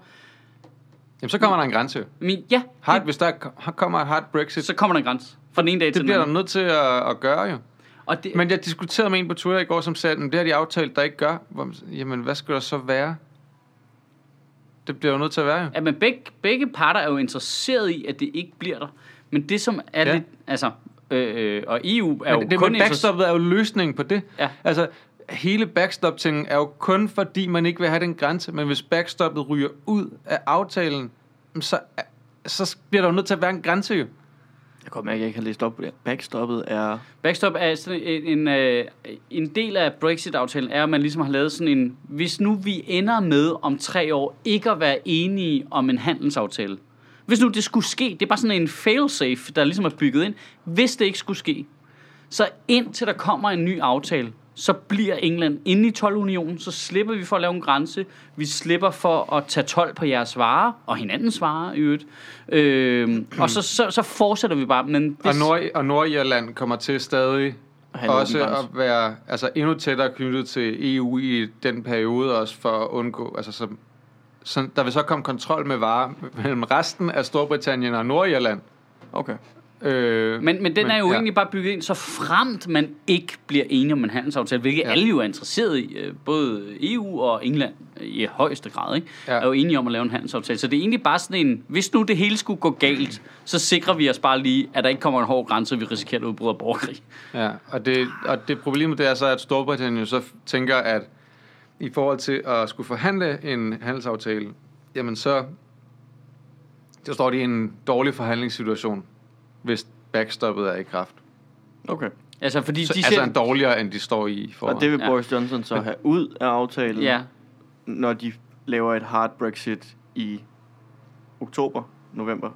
S2: Jamen, så kommer der en grænse.
S3: Men ja,
S2: Hard, hvis der ko- kommer et hard Brexit,
S3: Mm. så kommer der en grænse fra den ene dag
S2: det
S3: til den
S2: bliver der
S3: anden.
S2: nødt til at, at gøre jo.
S3: Og det,
S2: Men jeg diskuterede med en på Twitter i går, som sagde, at det har de aftalt, der ikke gør. Hvor man siger, Jamen, hvad skal der så være? Det bliver jo nødt til at være jo.
S3: ja, men begge, begge parter er jo interesseret i, at det ikke bliver der. Men det som er ja.
S2: Ja.
S3: lidt, altså, øh, øh, og EU er
S2: Men
S3: jo
S2: det,
S3: kun
S2: men backstoppet er jo løsningen på det.
S3: Ja.
S2: Altså, hele backstop-tingen er jo kun fordi, man ikke vil have den grænse. Men hvis backstoppet ryger ud af aftalen, så, så bliver der jo nødt til at være en grænse jo.
S1: Jeg kommer ikke, jeg ikke har læst op på det. Backstoppet er...
S3: Backstop er sådan en, en, øh, en del af Brexit-aftalen, er, at man ligesom har lavet sådan en, hvis nu vi ender med om tre år ikke at være enige om en handelsaftale, hvis nu det skulle ske, det er bare sådan en fail-safe, der ligesom er bygget ind, hvis det ikke skulle ske, så indtil der kommer en ny aftale, så bliver England inde i 12-unionen, så slipper vi for at lave en grænse, vi slipper for at tage 12 på jeres varer, og hinandens varer i øvrigt, øhm, og så, så, så fortsætter vi bare. Men det,
S2: Og, Nord- og Nordirland kommer til stadig
S1: have en
S2: også
S1: åben grænse.
S2: at være altså, endnu tættere knyttet til EU i den periode også for at undgå... Altså, så, så, der vil så komme kontrol med varer mellem resten af Storbritannien og Nordirland.
S1: Okay.
S2: Øh,
S3: Men, men den er jo ja. egentlig bare bygget ind, så fremt man ikke bliver enige om en handelsaftale, hvilket ja.
S2: Ja.
S3: alle jo er interesseret i, øh, både EU og England øh, i højeste grad, ikke? Ja.
S2: Ja.
S3: er jo enige om at lave en handelsaftale. Så det er egentlig bare sådan en, hvis nu det hele skulle gå galt, så sikrer vi os bare lige, at der ikke kommer en hård grænse, og vi risikerer at udbryde borgerkrig.
S2: Ja, og det, og det problemet det er så, at Storbritannien jo så tænker, at i forhold til at skulle forhandle en handelsaftale, jamen så, så står de i en dårlig forhandlingssituation, hvis backstoppet er i kraft.
S1: Okay.
S3: Altså, fordi
S2: Så,
S3: de
S2: altså
S3: ser...
S2: en dårligere, end de står i
S1: Og
S2: for.
S1: det vil
S3: Ja.
S1: Boris Johnson så have ud af aftalen,
S3: Ja,
S1: når de laver et hard Brexit i oktober, november.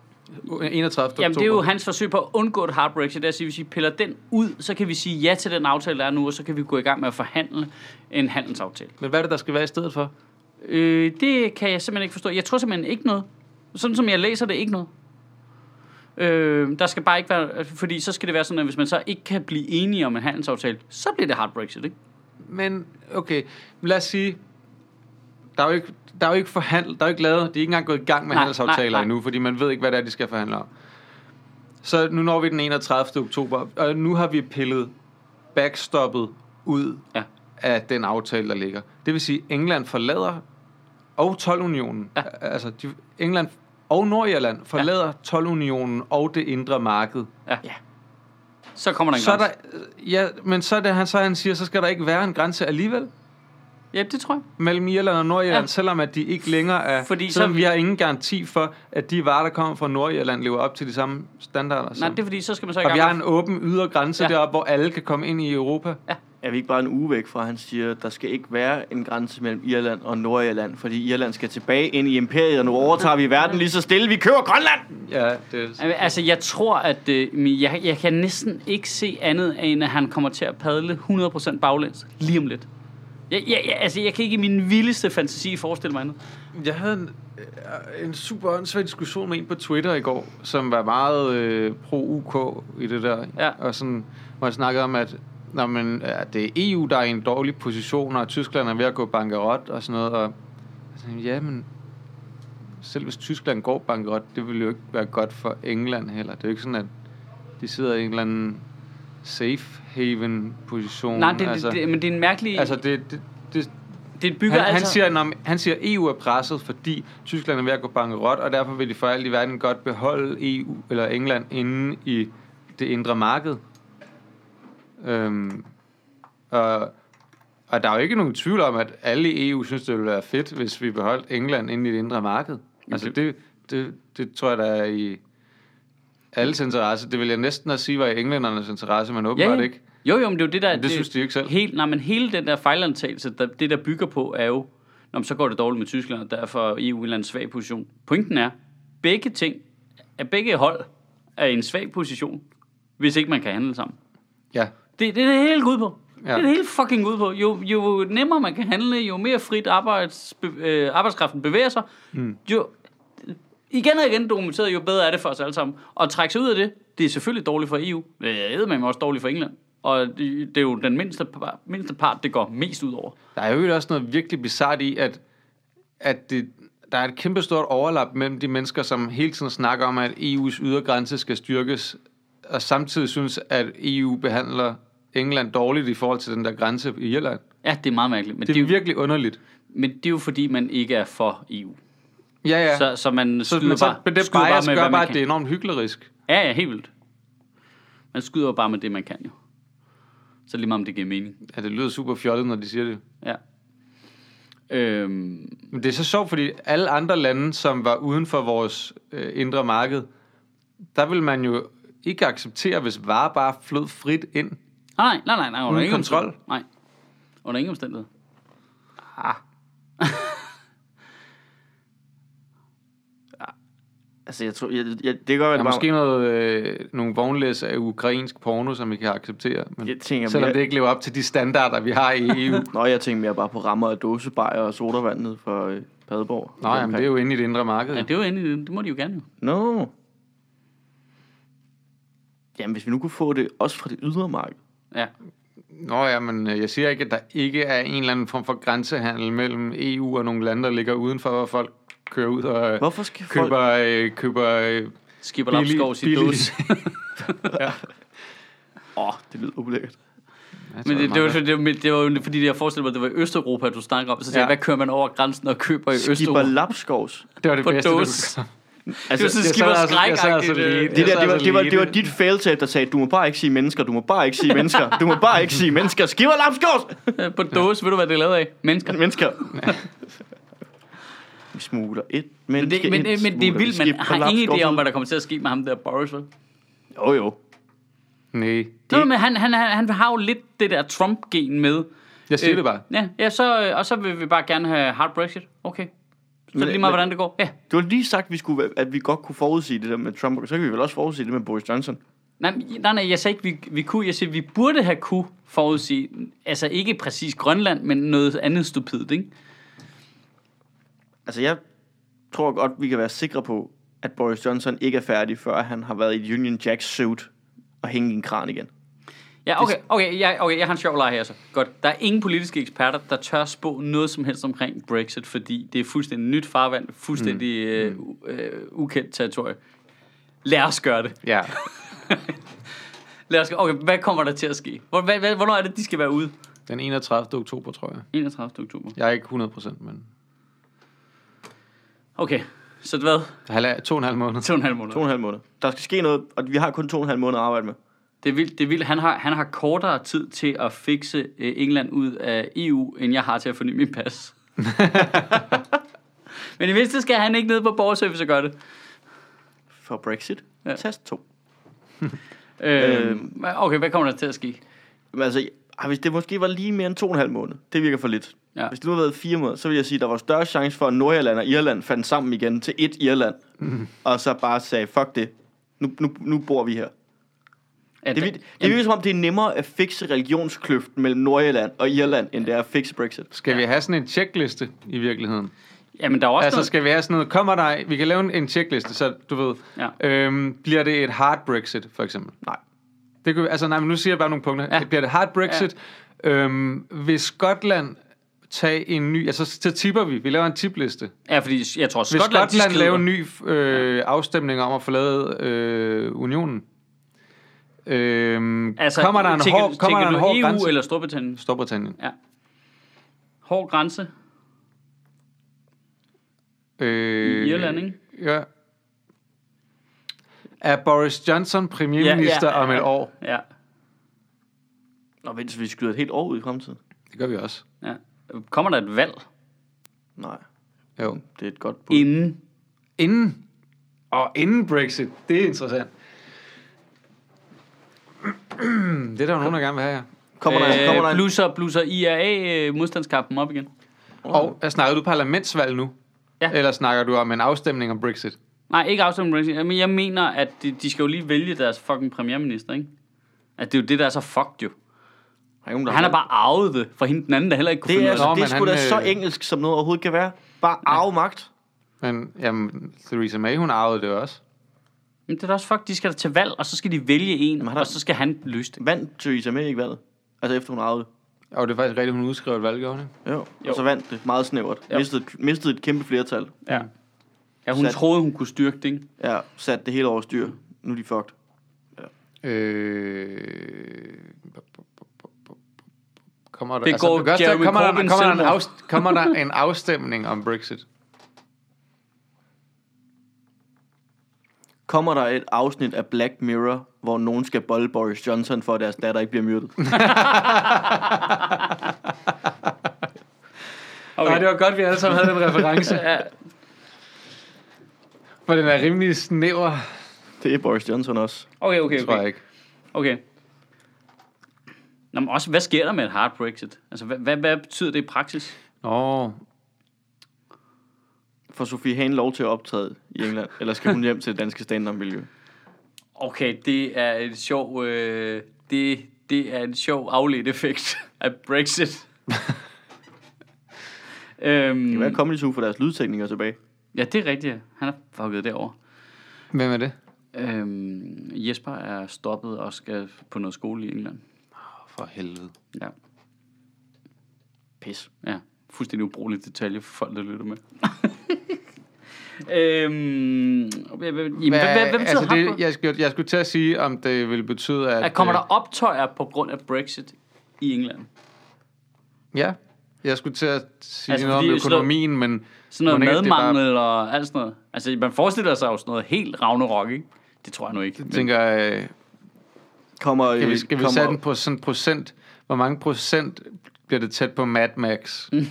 S2: 31. oktober.
S3: Jamen, det er jo hans forsøg på at undgå et hard Brexit. Det er at sige, hvis vi piller den ud, så kan vi sige ja til den aftale, der er nu, og så kan vi gå i gang med at forhandle en handelsaftale.
S2: Men hvad er det, der skal være i stedet for?
S3: Øh, det kan jeg simpelthen ikke forstå. Jeg tror simpelthen ikke noget. Sådan som jeg læser det, ikke noget. Øh, der skal bare ikke være... Fordi så skal det være sådan, at hvis man så ikke kan blive enige om en handelsaftale, så bliver det hard Brexit, ikke?
S2: Men okay, lad os sige, der er jo ikke, der er jo ikke forhandlet, der er jo ikke lavet, de er ikke engang gået i gang med
S3: Nej,
S2: handelsaftaler
S3: nej, nej.
S2: endnu, fordi man ved ikke, hvad det er, de skal forhandle om. Så nu når vi den 31. oktober, og nu har vi pillet backstoppet ud
S3: Ja.
S2: af den aftale, der ligger. Det vil sige, England forlader og tolvunionen,
S3: Ja.
S2: ja. altså de, England og Nordirland forlader ja. tolvunionen og det indre marked.
S3: Ja. ja. Så kommer der en
S2: Så er
S3: grænse.
S2: der, øh, ja, men så er det, han, så han siger, så skal der ikke være en grænse alligevel.
S3: Ja, det tror jeg.
S2: mellem Irland og Nordirland,
S3: Ja.
S2: ja. selvom at de ikke længere er...
S3: Fordi
S2: Fordi
S3: så-
S2: selvom vi har ingen garanti for, at de varer, der kommer fra Nordirland, lever op til de samme standarder.
S3: Nej,
S2: Som.
S3: det er fordi, så skal man så i
S2: og
S3: gang
S2: vi har
S3: med...
S2: en åben ydre grænse
S3: Ja.
S2: ja. deroppe, hvor alle kan komme ind i Europa. Ja.
S1: Er vi ikke bare en uge væk fra, at han siger, at der skal ikke være en grænse mellem Irland og Nordirland, fordi Irland skal tilbage ind i imperiet, og nu overtager vi verden lige så stille. Vi køber Grønland!
S2: ja det,
S3: Altså, jeg tror, at... Øh, men jeg, jeg kan næsten ikke se andet, end at han kommer til at padle 100% baglæns lige om lidt. Jeg, jeg, jeg, altså, jeg kan ikke i min vildeste fantasi forestille mig andet.
S2: jeg havde en, øh, en super åndssvær diskussion med en på Twitter i går, som var meget øh, pro-UK i det der.
S3: Ja.
S2: Og sådan, hvor jeg snakkede om, at når man, ja, det er EU, der er i en dårlig position, og Tyskland er ved at gå bankerot og sådan noget. Og, altså, ja, men selv hvis Tyskland går bankerot, det ville jo ikke være godt for England heller. Det er jo ikke sådan, at de sidder i en eller anden safe haven position.
S3: Nej, det,
S2: altså,
S3: det, det, men det er en mærkelig...
S2: altså det, det, det,
S3: det bygger
S2: han,
S3: altså...
S2: han, siger, når, han siger, at EU er presset, fordi Tyskland er ved at gå bankerot, og derfor vil de for alt i verden godt beholde EU eller England inde i det indre marked. Øhm, og, og der er jo ikke nogen tvivl om, at alle i EU synes, det ville være fedt, hvis vi beholdt England inde i det indre marked. Altså det, det, det tror jeg, der er i alles interesse. Det vil jeg næsten at sige, var i englændernes interesse, men åbenbart ja, ja. ikke.
S3: Jo, jo, men det er jo det der...
S2: Men det synes de jo ikke selv.
S3: Helt, nej, men hele den der fejlantagelse, der, det der bygger på, er jo, Nå, men så går det dårligt med Tyskland, og derfor er EU i en eller anden svag position. Pointen er, begge ting, at begge hold er i en svag position, hvis ikke man kan handle sammen.
S2: Ja.
S3: Det, det er det hele går ud på. Ja. Det
S2: Ja.
S3: er det hele fucking går ud på. Jo, jo nemmere man kan handle, jo mere frit arbejds, be, øh, arbejdskraften bevæger sig, mm. jo igen og igen dokumenteret, jo bedre er det for os alle sammen. Og at trække sig ud af det, det er selvfølgelig dårligt for E EU. Det er med også dårligt for England. Og det, det er jo den mindste, par- mindste part, det går mest ud over.
S2: Der er jo også noget virkelig bizart i, at, at det, der er et kæmpestort overlap mellem de mennesker, som hele tiden snakker om, at E EU's ydergrænse skal styrkes, og samtidig synes, at EU behandler England dårligt i forhold til den der grænse i Irland.
S3: Ja, det er meget mærkeligt. Men det,
S2: Det
S3: det
S2: er
S3: er jo,
S2: virkelig underligt.
S3: men det er jo fordi, man ikke er for EU.
S2: Ja, ja.
S3: Ja. Så, så man
S2: så,
S3: skyder
S2: men så,
S3: bare,
S2: men det
S3: skyder
S2: bias
S3: med,
S2: gør
S3: hvad man
S2: bare, at
S3: kan.
S2: det er enormt hyggelerisk.
S3: Ja, ja, helt vildt. Man skyder jo bare med det, man kan jo. Så lige meget om det giver mening.
S2: Ja, det lyder super fjollet, når de siger det.
S3: Ja. Øhm,
S2: Men det er så sjovt, fordi alle andre lande, som var uden for vores øh, indre marked, der vil man jo ikke acceptere, hvis varer bare flød frit ind.
S3: ah, nej, nej, nej, nej. Under
S2: Uden
S3: ingen
S2: kontrol?
S3: omstændighed. Nej. Under ingen omstændighed.
S1: Altså, jeg tror, jeg, jeg, det gør, at
S2: Der er
S1: det
S2: måske noget, øh, nogle vognlæs af ukrainsk porno, som vi kan acceptere. Men
S1: Jeg tænker,
S2: selvom
S1: jeg-
S2: det ikke lever op til de standarder, vi har i E EU.
S1: Nå, jeg tænkte mere bare på rammer af dåsebajer og sodavand ned fra øh, Padborg.
S2: Nå, jamen, det er jo inde i det indre marked.
S3: Ja, det er jo endelig, det må de jo gerne jo.
S1: Nå. Jamen, hvis vi nu kunne få det også fra det ydre marked.
S3: Ja.
S2: Nå ja, men øh, jeg siger ikke, at der ikke er en eller anden form for grænsehandel mellem EU og nogle lande, der ligger udenfor, hvor folk kører ud og øh,
S1: Hvorfor skal folk...
S2: køber, øh, køber øh,
S3: Skipper
S2: billig,
S3: Lapskov sit
S2: billig-
S3: dåse.
S1: Åh, oh, det lyder ulækkert.
S3: Øh,
S2: Jeg tror,
S3: Men det, det,
S2: er
S3: var, det,
S2: meget-
S3: det, var, det var jo fordi, jeg forestillede mig, at det var Østeuropa, du snakker om. Så tænkte ja.
S2: Ja.
S3: jeg, hvad kører man over grænsen og køber i
S1: Skipper
S3: Østeuropa?
S1: Lapskovs.
S2: det var det
S3: på
S2: bedste,
S3: dåse.
S2: du kunne
S1: Altså,
S3: Det var sådan-
S2: Jeg sad
S3: Skipper
S2: altså- jeg sad altså
S3: Skræk-agtigt,
S2: lige-
S3: øh,
S1: Det,
S2: jeg sad
S1: der, det, var,
S2: altså
S1: det, var,
S2: lige
S1: det var
S2: lidt-
S1: dit failtape, der sagde, du må bare ikke sige mennesker, du må bare ikke sige mennesker, du må bare ikke sige mennesker. Skipper Lapskovs!
S3: Øh, På dåse, ved du, hvad det er lavet af? Mennesker.
S1: Mennesker. Vi smugler et
S3: Men
S1: menneske
S3: det, men,
S1: ind,
S3: men, men det er
S1: smugler vi
S3: vildt, man
S1: Skipper
S3: har ingen idé
S1: Lapskovs
S3: om,
S1: ud.
S3: hvad der kommer til at ske med ham der Boris, vel?
S1: Jo, jo.
S2: Nej,
S3: Nå, men han, han, han, han har jo lidt det der Trump-gen med.
S2: jeg
S1: Øh.
S2: siger det bare.
S3: Ja, ja så, øh, og så vil vi bare gerne have hard Brexit. Okay. Så er det
S1: Men-
S3: lige meget,
S1: men-
S3: hvordan det går. Ja.
S1: Du har lige sagt, at vi, skulle, være- at vi godt kunne forudsige det der med Trump, og så kan vi vel også forudsige det med Boris Johnson.
S3: Nej, men- nej, nej, jeg sagde ikke, vi, vi kunne. Jeg sagde, vi burde have kunne forudsige, altså ikke præcis Grønland, men noget andet stupidt, ikke?
S1: Altså, jeg tror godt, vi kan være sikre på, at Boris Johnson ikke er færdig, før han har været i et Union Jack suit og hængt i en kran igen.
S3: Ja, okay, okay, ja, okay, jeg har en sjov leg her så. Godt. Der er ingen politiske eksperter, der tør spå noget som helst omkring Brexit, fordi det er fuldstændig nyt farvand, fuldstændig
S1: Mm.
S3: øh, u- øh, ukendt territorie. Lad os gøre det.
S2: Ja.
S3: Lad os gøre. Okay, hvad kommer der til at ske? Hvor, hvad, hvad, hvornår er det, de skal være ude?
S2: Den 31. oktober, tror jeg.
S3: 31. oktober.
S2: Jeg er ikke 100%, men
S3: Okay, så hvad?
S2: halv, to og en halv måned.
S3: To og en halv måned.
S1: To og en halv måned. Der skal ske noget, og vi har kun to og en halv måned at arbejde med.
S3: Det er vildt. Det er vildt. Han, har, han har kortere tid til at fikse øh, England ud af EU, end jeg har til at forny min pas. Men i mindste skal han ikke ned på borgerservice og gøre det.
S1: For Brexit,
S3: Ja.
S1: ja. test 2.
S3: Øh,
S2: Øhm.
S3: okay, hvad kommer der til at ske?
S1: Men altså, ah, hvis det måske var lige mere end to og en halv måned, det virker for lidt.
S3: Ja.
S1: Ja. Hvis det nu havde været fire måneder, så vil jeg sige, at der var større chance for, at Nordjylland og Irland fandt sammen igen til et Irland. Mm. Og så bare sagde, fuck det, nu, nu, nu bor vi her.
S3: At,
S1: Det, vir- det virker som om, det er nemmere at fikse religionskløften mellem Nordjylland og Irland, end det er at fikse Brexit.
S2: Skal vi have sådan en tjekliste i virkeligheden?
S3: jamen, der er også
S2: Altså
S3: noget,
S2: skal vi have sådan noget, kommer der, vi kan lave en, en checkliste, så du ved,
S3: Ja.
S2: øhm, bliver det et hard Brexit, for eksempel?
S1: Nej.
S2: Det kunne, altså nej, men nu siger jeg bare nogle punkter.
S3: Ja.
S2: Ja. Bliver det hard Brexit? Ja. Øhm, vil Skotland tage en ny, altså så tipper vi, vi laver en tipliste.
S3: Ja, fordi jeg tror,
S2: Hvis
S3: Skotland,
S2: Skotland,
S3: de
S2: Skotland
S3: skrider.
S2: laver en ny øh, afstemning om at forlade øh, unionen, øhm, altså, kommer der en
S3: tænker,
S2: hård, kommer der
S3: tænker
S2: en
S3: du
S2: hård
S3: EU
S2: grænse? Eller?
S3: eller Storbritannien?
S2: Storbritannien.
S3: Ja. Hård grænse.
S2: Øh,
S3: I Irland, ikke?
S2: Ja. Er Boris Johnson premierminister ja, ja, ja, om et år?
S3: Ja,
S1: Nå, vent, så vi skyder et helt år ud i fremtiden.
S2: Det gør vi også.
S3: ja. Kommer der et valg
S1: Nej,
S2: Jo.
S1: det er et godt bud.
S3: inden?
S2: Inden. Og inden Brexit. Det er interessant. Det er der jo nogen, der gerne vil have, ja.
S1: Kommer der, kommer der
S3: øh,
S1: en...
S3: bluser, bluser IRA øh, modstandskampen op igen?
S2: Og er- snakker du parlamentsvalg nu?
S3: Ja.
S2: Eller snakker du om en afstemning om Brexit?
S3: Nej, ikke afstemning om Brexit. Men jeg mener, at de, de skal jo lige vælge deres fucking premierminister, ikke? At det er jo det, der er så fucked jo.
S1: Der er nogen, der
S3: Han har bare arvet det fra hende den anden, der heller ikke kunne
S1: Det
S3: finde
S1: er,
S3: ud af
S1: altså,
S2: Nå,
S1: det er
S2: men
S1: sgu da
S2: han,
S1: så
S2: øh,
S1: engelsk, som noget overhovedet kan være. Bare arve magt.
S2: Men jamen, Theresa May, hun arvede det også.
S3: det. Men det er da også fuck, de skal da til valg, og så skal de vælge en, Jamen,
S1: han har-
S3: og så skal han løse det.
S1: Vandt Theresa May ikke valget? Altså efter hun arvede det.
S2: Og det er faktisk rigtigt, hun udskrev et valg, gjorde hun ikke?
S1: Jo. Og så vandt det meget snævert.
S3: Jo.
S1: Mistede, mistede et kæmpe flertal.
S3: Ja. Ja, hun
S1: Sat-
S3: troede, hun kunne styrke det, ikke?
S1: Ja, satte det hele over styr. Nu er de fucked.
S2: Øh... Kommer der, altså,
S3: Det går
S2: det gør også-
S3: Jeremy
S2: kommer, der,
S3: Corbyn
S2: kommer, der en
S3: selvmord.
S2: afst, kommer der en afstemning om Brexit?
S1: Kommer der et afsnit af Black Mirror, hvor nogen skal bolde Boris Johnson for, at deres datter ikke bliver myrdet?
S2: Okay.
S3: Okay.
S2: Nej, det var godt, vi alle sammen havde den reference.
S3: Ja,
S2: For den er rimelig snæver,
S1: det er Boris Johnson også.
S3: okay, okay,
S2: tror jeg
S3: okay.
S2: ikke.
S3: okay. Nå, men også, hvad sker der med et hard Brexit? Altså, hvad, hvad, hvad betyder det i praksis?
S2: Nå,
S1: Får Sofie Hane lov til at optræde i England? Eller skal hun hjem til det danske stand-up-miljø?
S3: Okay, det er en sjov... Øh, det, det er en sjov afledt effekt af Brexit. øhm,
S1: Hvad
S2: Mm.
S1: er Comedy Zoo for deres lydteknikere tilbage?
S3: ja, det er rigtigt. ja. Han er fucket derovre.
S2: hvem er det?
S3: Øhm, Jesper er stoppet og skal på noget skole i England.
S2: For helvede.
S3: Ja,
S1: Pis.
S3: ja. Fuldstændig ubrugelig detalje for folk, der lytter med. øhm, hvad, hvad, jamen, hvad, hvad, hvad betyder
S2: altså,
S3: altså
S2: det, jeg, skulle, jeg skulle til at sige, om det ville betyde, at...
S3: At kommer
S2: øh,
S3: der optøjer på grund af Brexit i England?
S2: Ja, jeg skulle til at
S3: Altså,
S2: sige altså, noget om
S3: fordi sådan noget-
S2: økonomien, men...
S3: Sådan noget
S2: mon ikke, at det bare-
S3: madmangel og alt sådan noget. Altså, man forestiller sig jo sådan noget helt ragnarok, ikke? Det tror jeg nu ikke.
S2: Jeg tænker, øh,
S1: Kommer, øh,
S2: Skal vi, skal vi
S1: kommer,
S2: sætte den på sådan procent? Hvor mange procent bliver det tæt på Mad Max?
S3: Mm.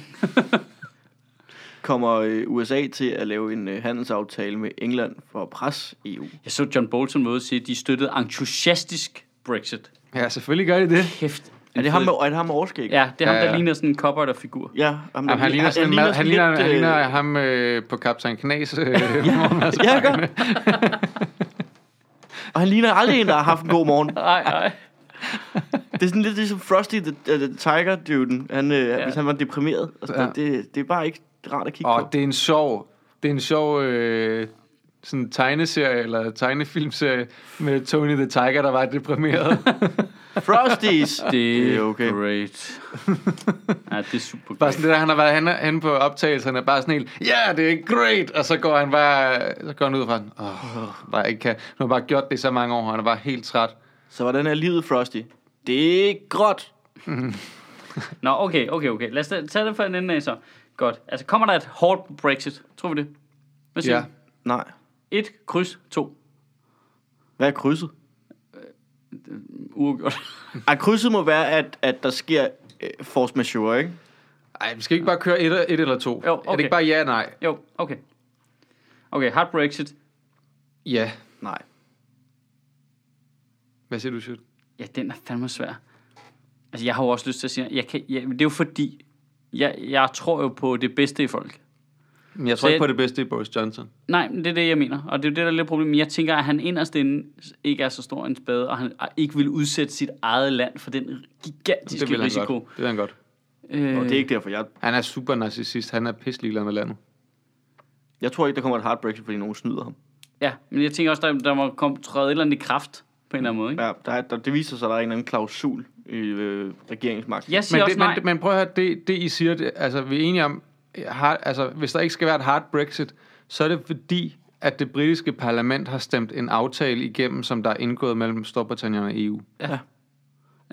S1: kommer øh, USA til at lave en øh, handelsaftale med England for E at presse EU?
S3: Jeg så John Bolton måde sige, at de støttede entusiastisk Brexit.
S2: Ja, selvfølgelig gør det det.
S3: Kæft.
S1: Er det ham med, er det ham med overskæg?
S3: Ja, det er ham,
S2: Ja,
S3: der
S2: ja.
S3: ligner sådan en copper-figur.
S1: Ja, ham, der-
S2: Jamen, han ligner, sådan, en mad, han,
S1: sådan
S2: ligner,
S1: lidt,
S2: han
S1: øh,
S2: ligner ham øh, på Kaptajn Knas. Øh, ja.
S1: Ja, jeg gør. Og han ligner aldrig en, der har haft en god morgen.
S3: Nej, nej.
S1: Det er sådan uh, lidt ligesom Frosty the, the, the Tiger-duden. Han, øh, Hvis han var deprimeret. Altså,
S2: Ja.
S1: ja. det, det er bare ikke... rart at kigge på.
S2: Og det er en sjov, det er en sjov øh, sådan tegneserie eller tegnefilmserie med Tony the Tiger, der var deprimeret.
S1: Frosties!
S2: Ah,
S3: Det
S1: er
S3: er
S1: okay.
S3: okay. great. Ja, det er super
S2: bare
S3: great.
S2: sådan det der, han har været henne, henne på optagelserne, bare sådan helt, ja, yeah, det er great! Og så går han bare, så går han ud fra den, åh, bare ikke kan. Nu har bare gjort det i så mange år, og han er bare helt træt.
S1: Så hvordan er livet, Frosty? Det er gråt.
S3: Nå, okay, okay, okay. Lad os da- tage det for en ende af så. Godt. Altså, kommer der et hårdt Brexit? Tror vi det? Hvad siger
S2: Ja.
S3: ja.
S1: Nej.
S3: Et kryds, to.
S1: Hvad er krydset?
S3: Uafgjort.
S1: Ej, krydset må være, at, at der sker øh, force majeure, ikke?
S2: Ej, vi skal ikke bare køre et, et eller to.
S3: Jo,
S2: Er det
S3: okay.
S2: ikke bare ja nej?
S3: Jo, okay. Okay, hard Brexit.
S2: Ja.
S1: Nej.
S2: Hvad siger du, Sjøt?
S3: Ja, den er fandme svær. Altså, jeg har jo også lyst til at sige, jeg kan, ja, men det er jo fordi, jeg, jeg tror jo på det bedste i folk.
S2: Jeg
S3: Så
S2: tror ikke på
S3: jeg-
S2: det bedste i Boris Johnson.
S3: Nej, men det er det, jeg mener. Og det er jo det, der er lidt problemet. Jeg tænker, at han inderst inde ikke er så stor en spade, og han ikke vil udsætte sit eget land for den gigantiske
S2: Det vil han
S3: risiko.
S2: godt. Det vil han godt.
S3: Øh,
S1: Og det er ikke derfor. Jeg,
S2: Han er super narcissist. Han er pisselig med landet.
S1: jeg tror ikke, der kommer et hard brexit, fordi nogen snyder ham.
S3: Ja, men jeg tænker også, der, der må komme træde et eller andet i kraft på en eller anden måde. Ikke?
S1: Ja, der, er- der, det viser sig, at der er en eller anden klausul i øh, regeringsmagten.
S3: Jeg siger
S2: Men,
S3: også
S2: det,
S3: nej.
S2: men, men prøv at høre, det, det I siger, det, altså vi er enige om, hard, altså, hvis der ikke skal være et hard Brexit, så er det fordi, at det britiske parlament har stemt en aftale igennem, som der er indgået mellem Storbritannien og E EU.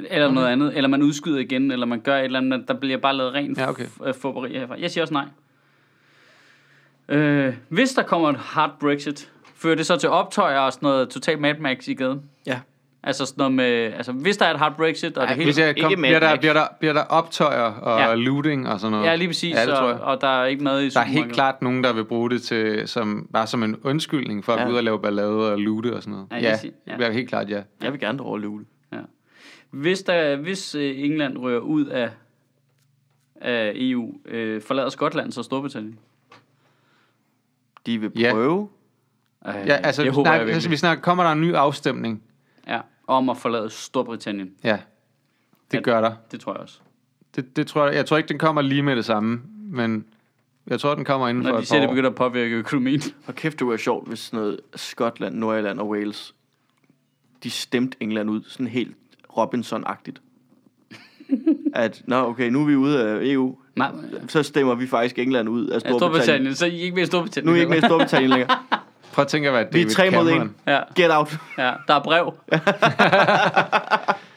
S3: Eller noget andet. Eller man udskyder igen, eller man gør et eller andet. Der bliver bare lavet ren
S2: Ja, okay.
S3: f- øh, fåberi herfra. Jeg siger også nej. Øh, hvis der kommer et hard Brexit, fører det så til optøjer og sådan noget totalt Mad Max i gaden?
S1: Ja.
S3: Altså sådan noget med... Altså, hvis der er et hard Brexit, og det hele...
S2: Hvis jeg
S1: ikke
S2: kom,
S1: Mad
S2: bliver, der,
S1: Max.
S2: bliver, der, bliver der optøjer og ja.
S3: Ja.
S2: looting og sådan noget?
S3: Ja, lige præcis.
S2: Ja, det tror
S3: og,
S2: jeg.
S3: og, der er ikke mad i
S2: Der er helt klart nogen, der vil bruge det til, som, bare som en undskyldning for at
S1: Ja.
S2: gå ud og lave ballade og loote og sådan noget.
S3: Ja, jeg
S2: Ja,
S3: siger- ja.
S2: det bliver helt klart ja.
S1: Jeg vil gerne over jul.
S3: Hvis, der, hvis øh, England rører ud af, af EU, øh, forlader Skotland så Storbritannien?
S1: De vil
S2: Ja.
S1: prøve.
S3: Øh,
S2: Ja, altså,
S3: det
S2: vi
S3: håber jeg
S2: snakker, altså,
S3: virkelig.
S2: vi snakker, kommer der en ny afstemning?
S3: Ja, om at forlade Storbritannien.
S2: Ja, det
S3: At-
S2: gør der.
S3: Det tror jeg også.
S2: Det, det tror jeg, jeg tror ikke, den kommer lige med det samme, men jeg tror, den kommer inden for
S3: Når de
S2: et
S3: ser, det
S2: par år.
S3: begynder at påvirke økonomien.
S1: Og kæft, det var sjovt, hvis sådan noget Skotland, Nordirland og Wales, de stemte England ud sådan helt Robinson-agtigt. at, nå okay, nu er vi ude af E EU,
S3: Nej,
S1: så stemmer vi faktisk England ud af
S3: ja,
S1: Storbritannien.
S3: Storbritannien. Så I er ikke med i Storbritannien.
S1: Nu er I ikke med i
S3: eller
S1: Storbritannien længere.
S2: Prøv at tænke at være
S1: Vi er
S2: David
S1: tre mod
S2: Cameron.
S1: en.
S3: hvad? Ja,
S1: Get out.
S3: ja, der er brev.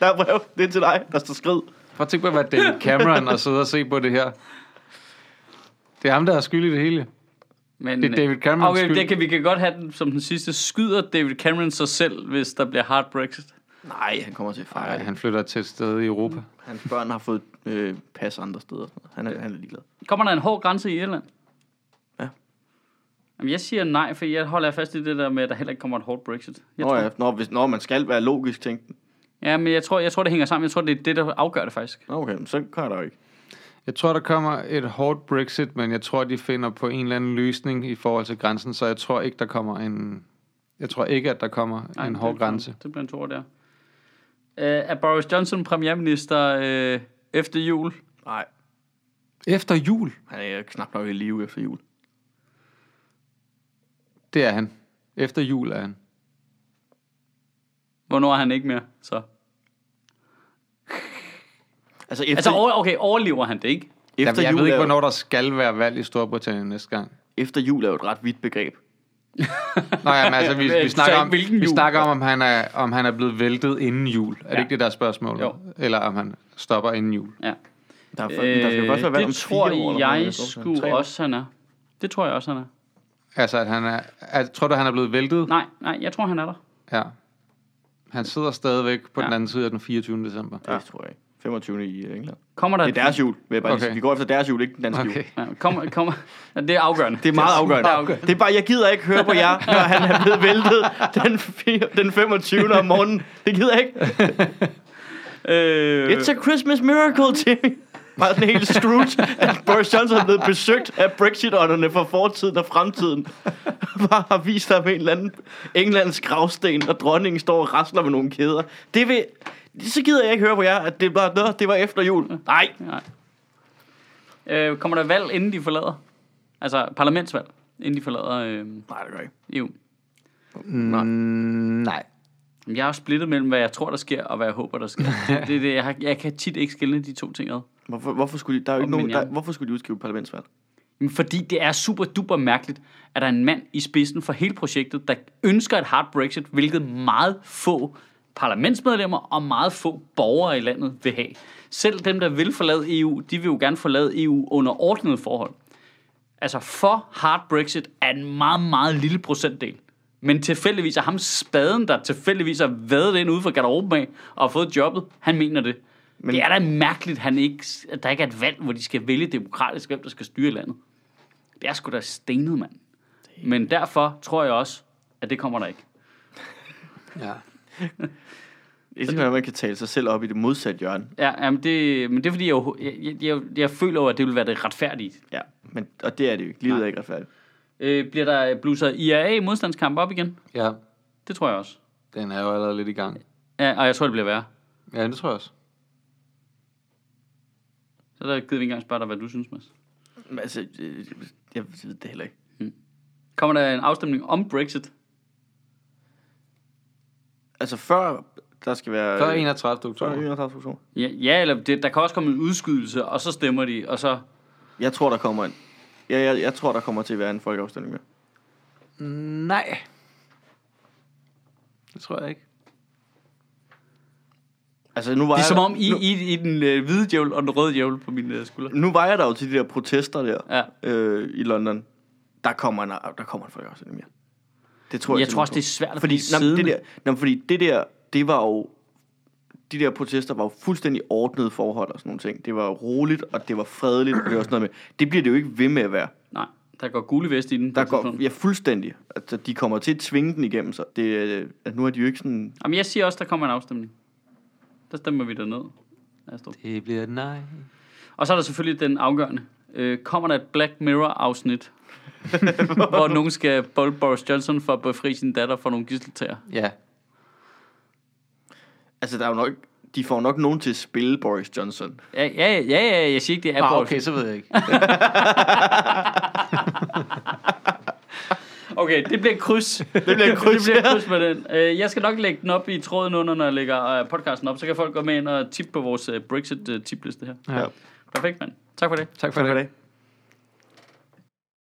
S1: Der er brev. Det er til dig. Der står skrid.
S2: Prøv at tænke på at være David Cameron og sidde og se på det her. Det er ham, der er skyld i det hele.
S3: Men, øh,
S2: Det er David Camerons
S3: okay,
S2: skyld.
S3: det kan, vi kan godt have den som den sidste. Skyder David Cameron sig selv, hvis der bliver hard Brexit?
S1: Nej, han kommer til at fejre
S2: Ej,
S1: det.
S2: han flytter til et sted i Europa.
S1: Hans børn har fået øh, pas andre steder. Han er, han er ligeglad.
S3: Kommer der en hård grænse i Irland?
S1: Ja.
S3: Jamen, jeg siger nej, for jeg holder fast i det der med, at der heller ikke kommer et hårdt Brexit. Jeg
S1: Nå,
S3: tror,
S1: ja. Nå, hvis, når man skal være logisk tænkt.
S3: ja, men jeg tror, jeg tror, det hænger sammen. Jeg tror, det er det, der afgør det faktisk.
S1: Nå, okay, men så kan jeg der jo ikke.
S2: Jeg tror, der kommer et hårdt Brexit, men jeg tror, de finder på en eller anden løsning i forhold til grænsen, så jeg tror ikke, der kommer en... Jeg tror ikke, at der kommer
S3: Nej,
S2: en
S3: det
S2: hård
S3: bliver-
S2: grænse.
S3: Det bliver en tor der. Øh, er Boris Johnson premierminister øh, efter jul?
S1: Nej,
S2: Efter jul?
S1: han er knap nok i live efter jul.
S2: Det er han. Efter jul er han.
S3: Hvornår er han ikke mere, så?
S1: Altså, efter,
S3: Altså, over, okay, overlever han det, ikke?
S1: efter,
S2: Efter jeg
S1: jul
S2: ved ikke,
S1: er, jo-
S2: hvornår der skal være valg i Storbritannien næste gang.
S1: efter jul er jo et ret vidt begreb.
S2: Nå ja, men altså, vi,
S3: Men
S2: vi,
S3: du
S2: snakker
S3: sagde
S2: om,
S3: ikke, hvilken
S2: vi
S3: jul.
S2: snakker om, om han, er, om han er blevet væltet inden jul. Er det
S3: Ja.
S2: ikke det, der er spørgsmålet?
S3: Jo.
S2: Eller om han stopper inden jul.
S3: Ja. Øh,
S1: Der, er, for- der skal først være valg om
S3: det tror
S1: fire år, eller
S3: jeg,
S1: hvad,
S3: jeg
S1: tror, så
S3: skulle
S1: tre år.
S3: også, han er. Det tror jeg også, han er.
S2: Altså, at han er, at, tror du, han er blevet væltet?
S3: Nej, nej, jeg tror, han er der.
S2: Ja. Han sidder stadigvæk på
S3: Ja.
S2: den anden side af den 24. december.
S1: Det tror jeg ikke. 25. i øh, England.
S3: Kommer der...
S1: Det er deres jul, vil jeg bare okay.
S2: Okay.
S1: sige. Vi går efter deres jul, ikke den danske jul.
S2: Okay.
S3: Ja, kommer, kommer, ja, det er afgørende.
S1: Det er meget afgørende.
S3: super afgørende.
S1: Det er bare, jeg gider ikke høre på jer, når han er blevet væltet den, fire- den 25. om morgenen. Det gider jeg ikke.
S3: Øh,
S1: It's a Christmas miracle, Timmy. Bare sådan helt Scrooge, at Boris Johnson er blevet besøgt af brexitånderne fra fortiden og fremtiden. Bare har vist ham en eller anden Englands gravsten, og dronningen står og rasler med nogle kæder. Det vil... Så gider jeg ikke høre på jer, at det var, Nå, det var efter jul. Nej,
S3: nej. Øh, kommer der valg, inden de forlader? Altså parlamentsvalg, inden de forlader
S1: Nej,
S3: øh,
S1: det gør jeg ikke.
S3: EU.
S2: Nej. Mm, nej.
S3: Jamen, Jeg er jo splittet mellem, hvad jeg tror, der sker, og hvad jeg håber, der sker. Det, det, er det, jeg, har, jeg kan tit ikke skille de to ting ad.
S1: Hvorfor, hvorfor, skulle de, der er jo
S3: Om
S1: ikke nogen,
S3: min hjerne.
S1: der, hvorfor skulle de udskrive parlamentsvalg?
S3: Men fordi det er super duper mærkeligt, at der er en mand i spidsen for hele projektet, der ønsker et hard Brexit, hvilket meget få parlamentsmedlemmer og meget få borgere i landet vil have. Selv dem, der vil forlade EU, de vil jo gerne forlade EU under ordnede forhold. Altså for hard Brexit er en meget, meget lille procentdel. Men tilfældigvis er ham spaden, der tilfældigvis har været den ude for garderoben af og har fået jobbet, han mener det. Men, det er da mærkeligt, han ikke, at der ikke er et valg, hvor de skal vælge demokratisk, hvem der skal styre landet. Det er sgu da stenet, mand. Men derfor tror jeg også, at det kommer der ikke.
S2: Ja.
S1: Ikke hvordan man kan tale sig selv op i det modsatte hjørne.
S3: Ja, jamen det, men det er fordi, jeg, jo- jeg, jeg, jeg, jeg føler jo, at det vil være det retfærdige.
S1: Ja, men, og det er det jo ikke. Livet
S3: Nej.
S1: er ikke retfærdigt.
S3: Øh, bliver der bluser IRA modstandskamp op igen?
S2: ja,
S3: Det tror jeg også.
S2: den er jo allerede lidt i gang.
S3: Ja, og jeg tror, det bliver værre.
S2: Ja, det tror jeg også.
S3: Så der gider vi ikke engang spørge dig, hvad du synes, Mads.
S1: Men altså, øh, jeg ved det heller ikke.
S3: Kommer der en afstemning om Brexit?
S1: Altså før der skal være...
S2: Før 31.
S1: før
S2: oktober.
S1: 31. oktober.
S3: Ja, ja eller det, der kan også komme en udskydelse, og så stemmer de, og så...
S1: Jeg tror, der kommer en... Jeg, jeg, jeg tror, der kommer til at være en folkeafstemning mere.
S2: Nej. Det tror jeg ikke.
S1: Altså, nu var
S3: Det
S1: jeg,
S3: er som om, I,
S1: nu,
S3: I, I er den øh, hvide djævel og den røde djævel på mine øh, skuldre.
S1: nu var jeg der jo til de der protester der
S3: Ja.
S1: øh, i London. Der kommer en, der kommer en folkeafstemning mere. Det tror jeg,
S3: Jeg, jeg tror også, det
S1: simpelthen
S3: er svært at
S1: på. fordi,
S3: blive
S1: nå, men
S3: siddende.
S1: det der, nå, men fordi det der, det var jo... De der protester var jo fuldstændig ordnede forhold og sådan nogle ting. Det var roligt, og det var fredeligt, og det var sådan noget med. Det bliver det jo ikke ved med at være.
S3: Nej, der går gule vest i den. på
S1: Der
S3: et
S1: går,
S3: tidspunkt.
S1: ja, fuldstændig. Altså, de kommer til at tvinge den igennem sig. Det, øh, at nu er de jo ikke sådan...
S3: Jamen, jeg siger også, der kommer en afstemning. Der stemmer vi derned. Astrup.
S2: Det bliver et nej.
S3: Og så er der selvfølgelig den afgørende. Øh, kommer der et Black Mirror-afsnit, hvor nogen skal bolde Boris Johnson for at befri sin datter fra nogle gisseltager?
S2: Ja.
S1: Altså, der er jo nok, de får nok nogen til at spille Boris Johnson.
S3: Ja, ja, ja, ja, jeg siger ikke, det er
S2: Ah,
S3: Boris.
S2: okay, så ved jeg ikke.
S3: Okay, det bliver et kryds. Det
S1: bliver et kryds,
S3: det bliver et
S1: ja.
S3: kryds med den. Øh, Jeg skal nok lægge den op i tråden under, når jeg lægger øh, podcasten op. Så kan folk gå med ind og tippe på vores øh, Brexit-tipliste her.
S2: Ja.
S3: Perfekt, mand. Tak for det.
S2: Tak for det.
S1: Goddag.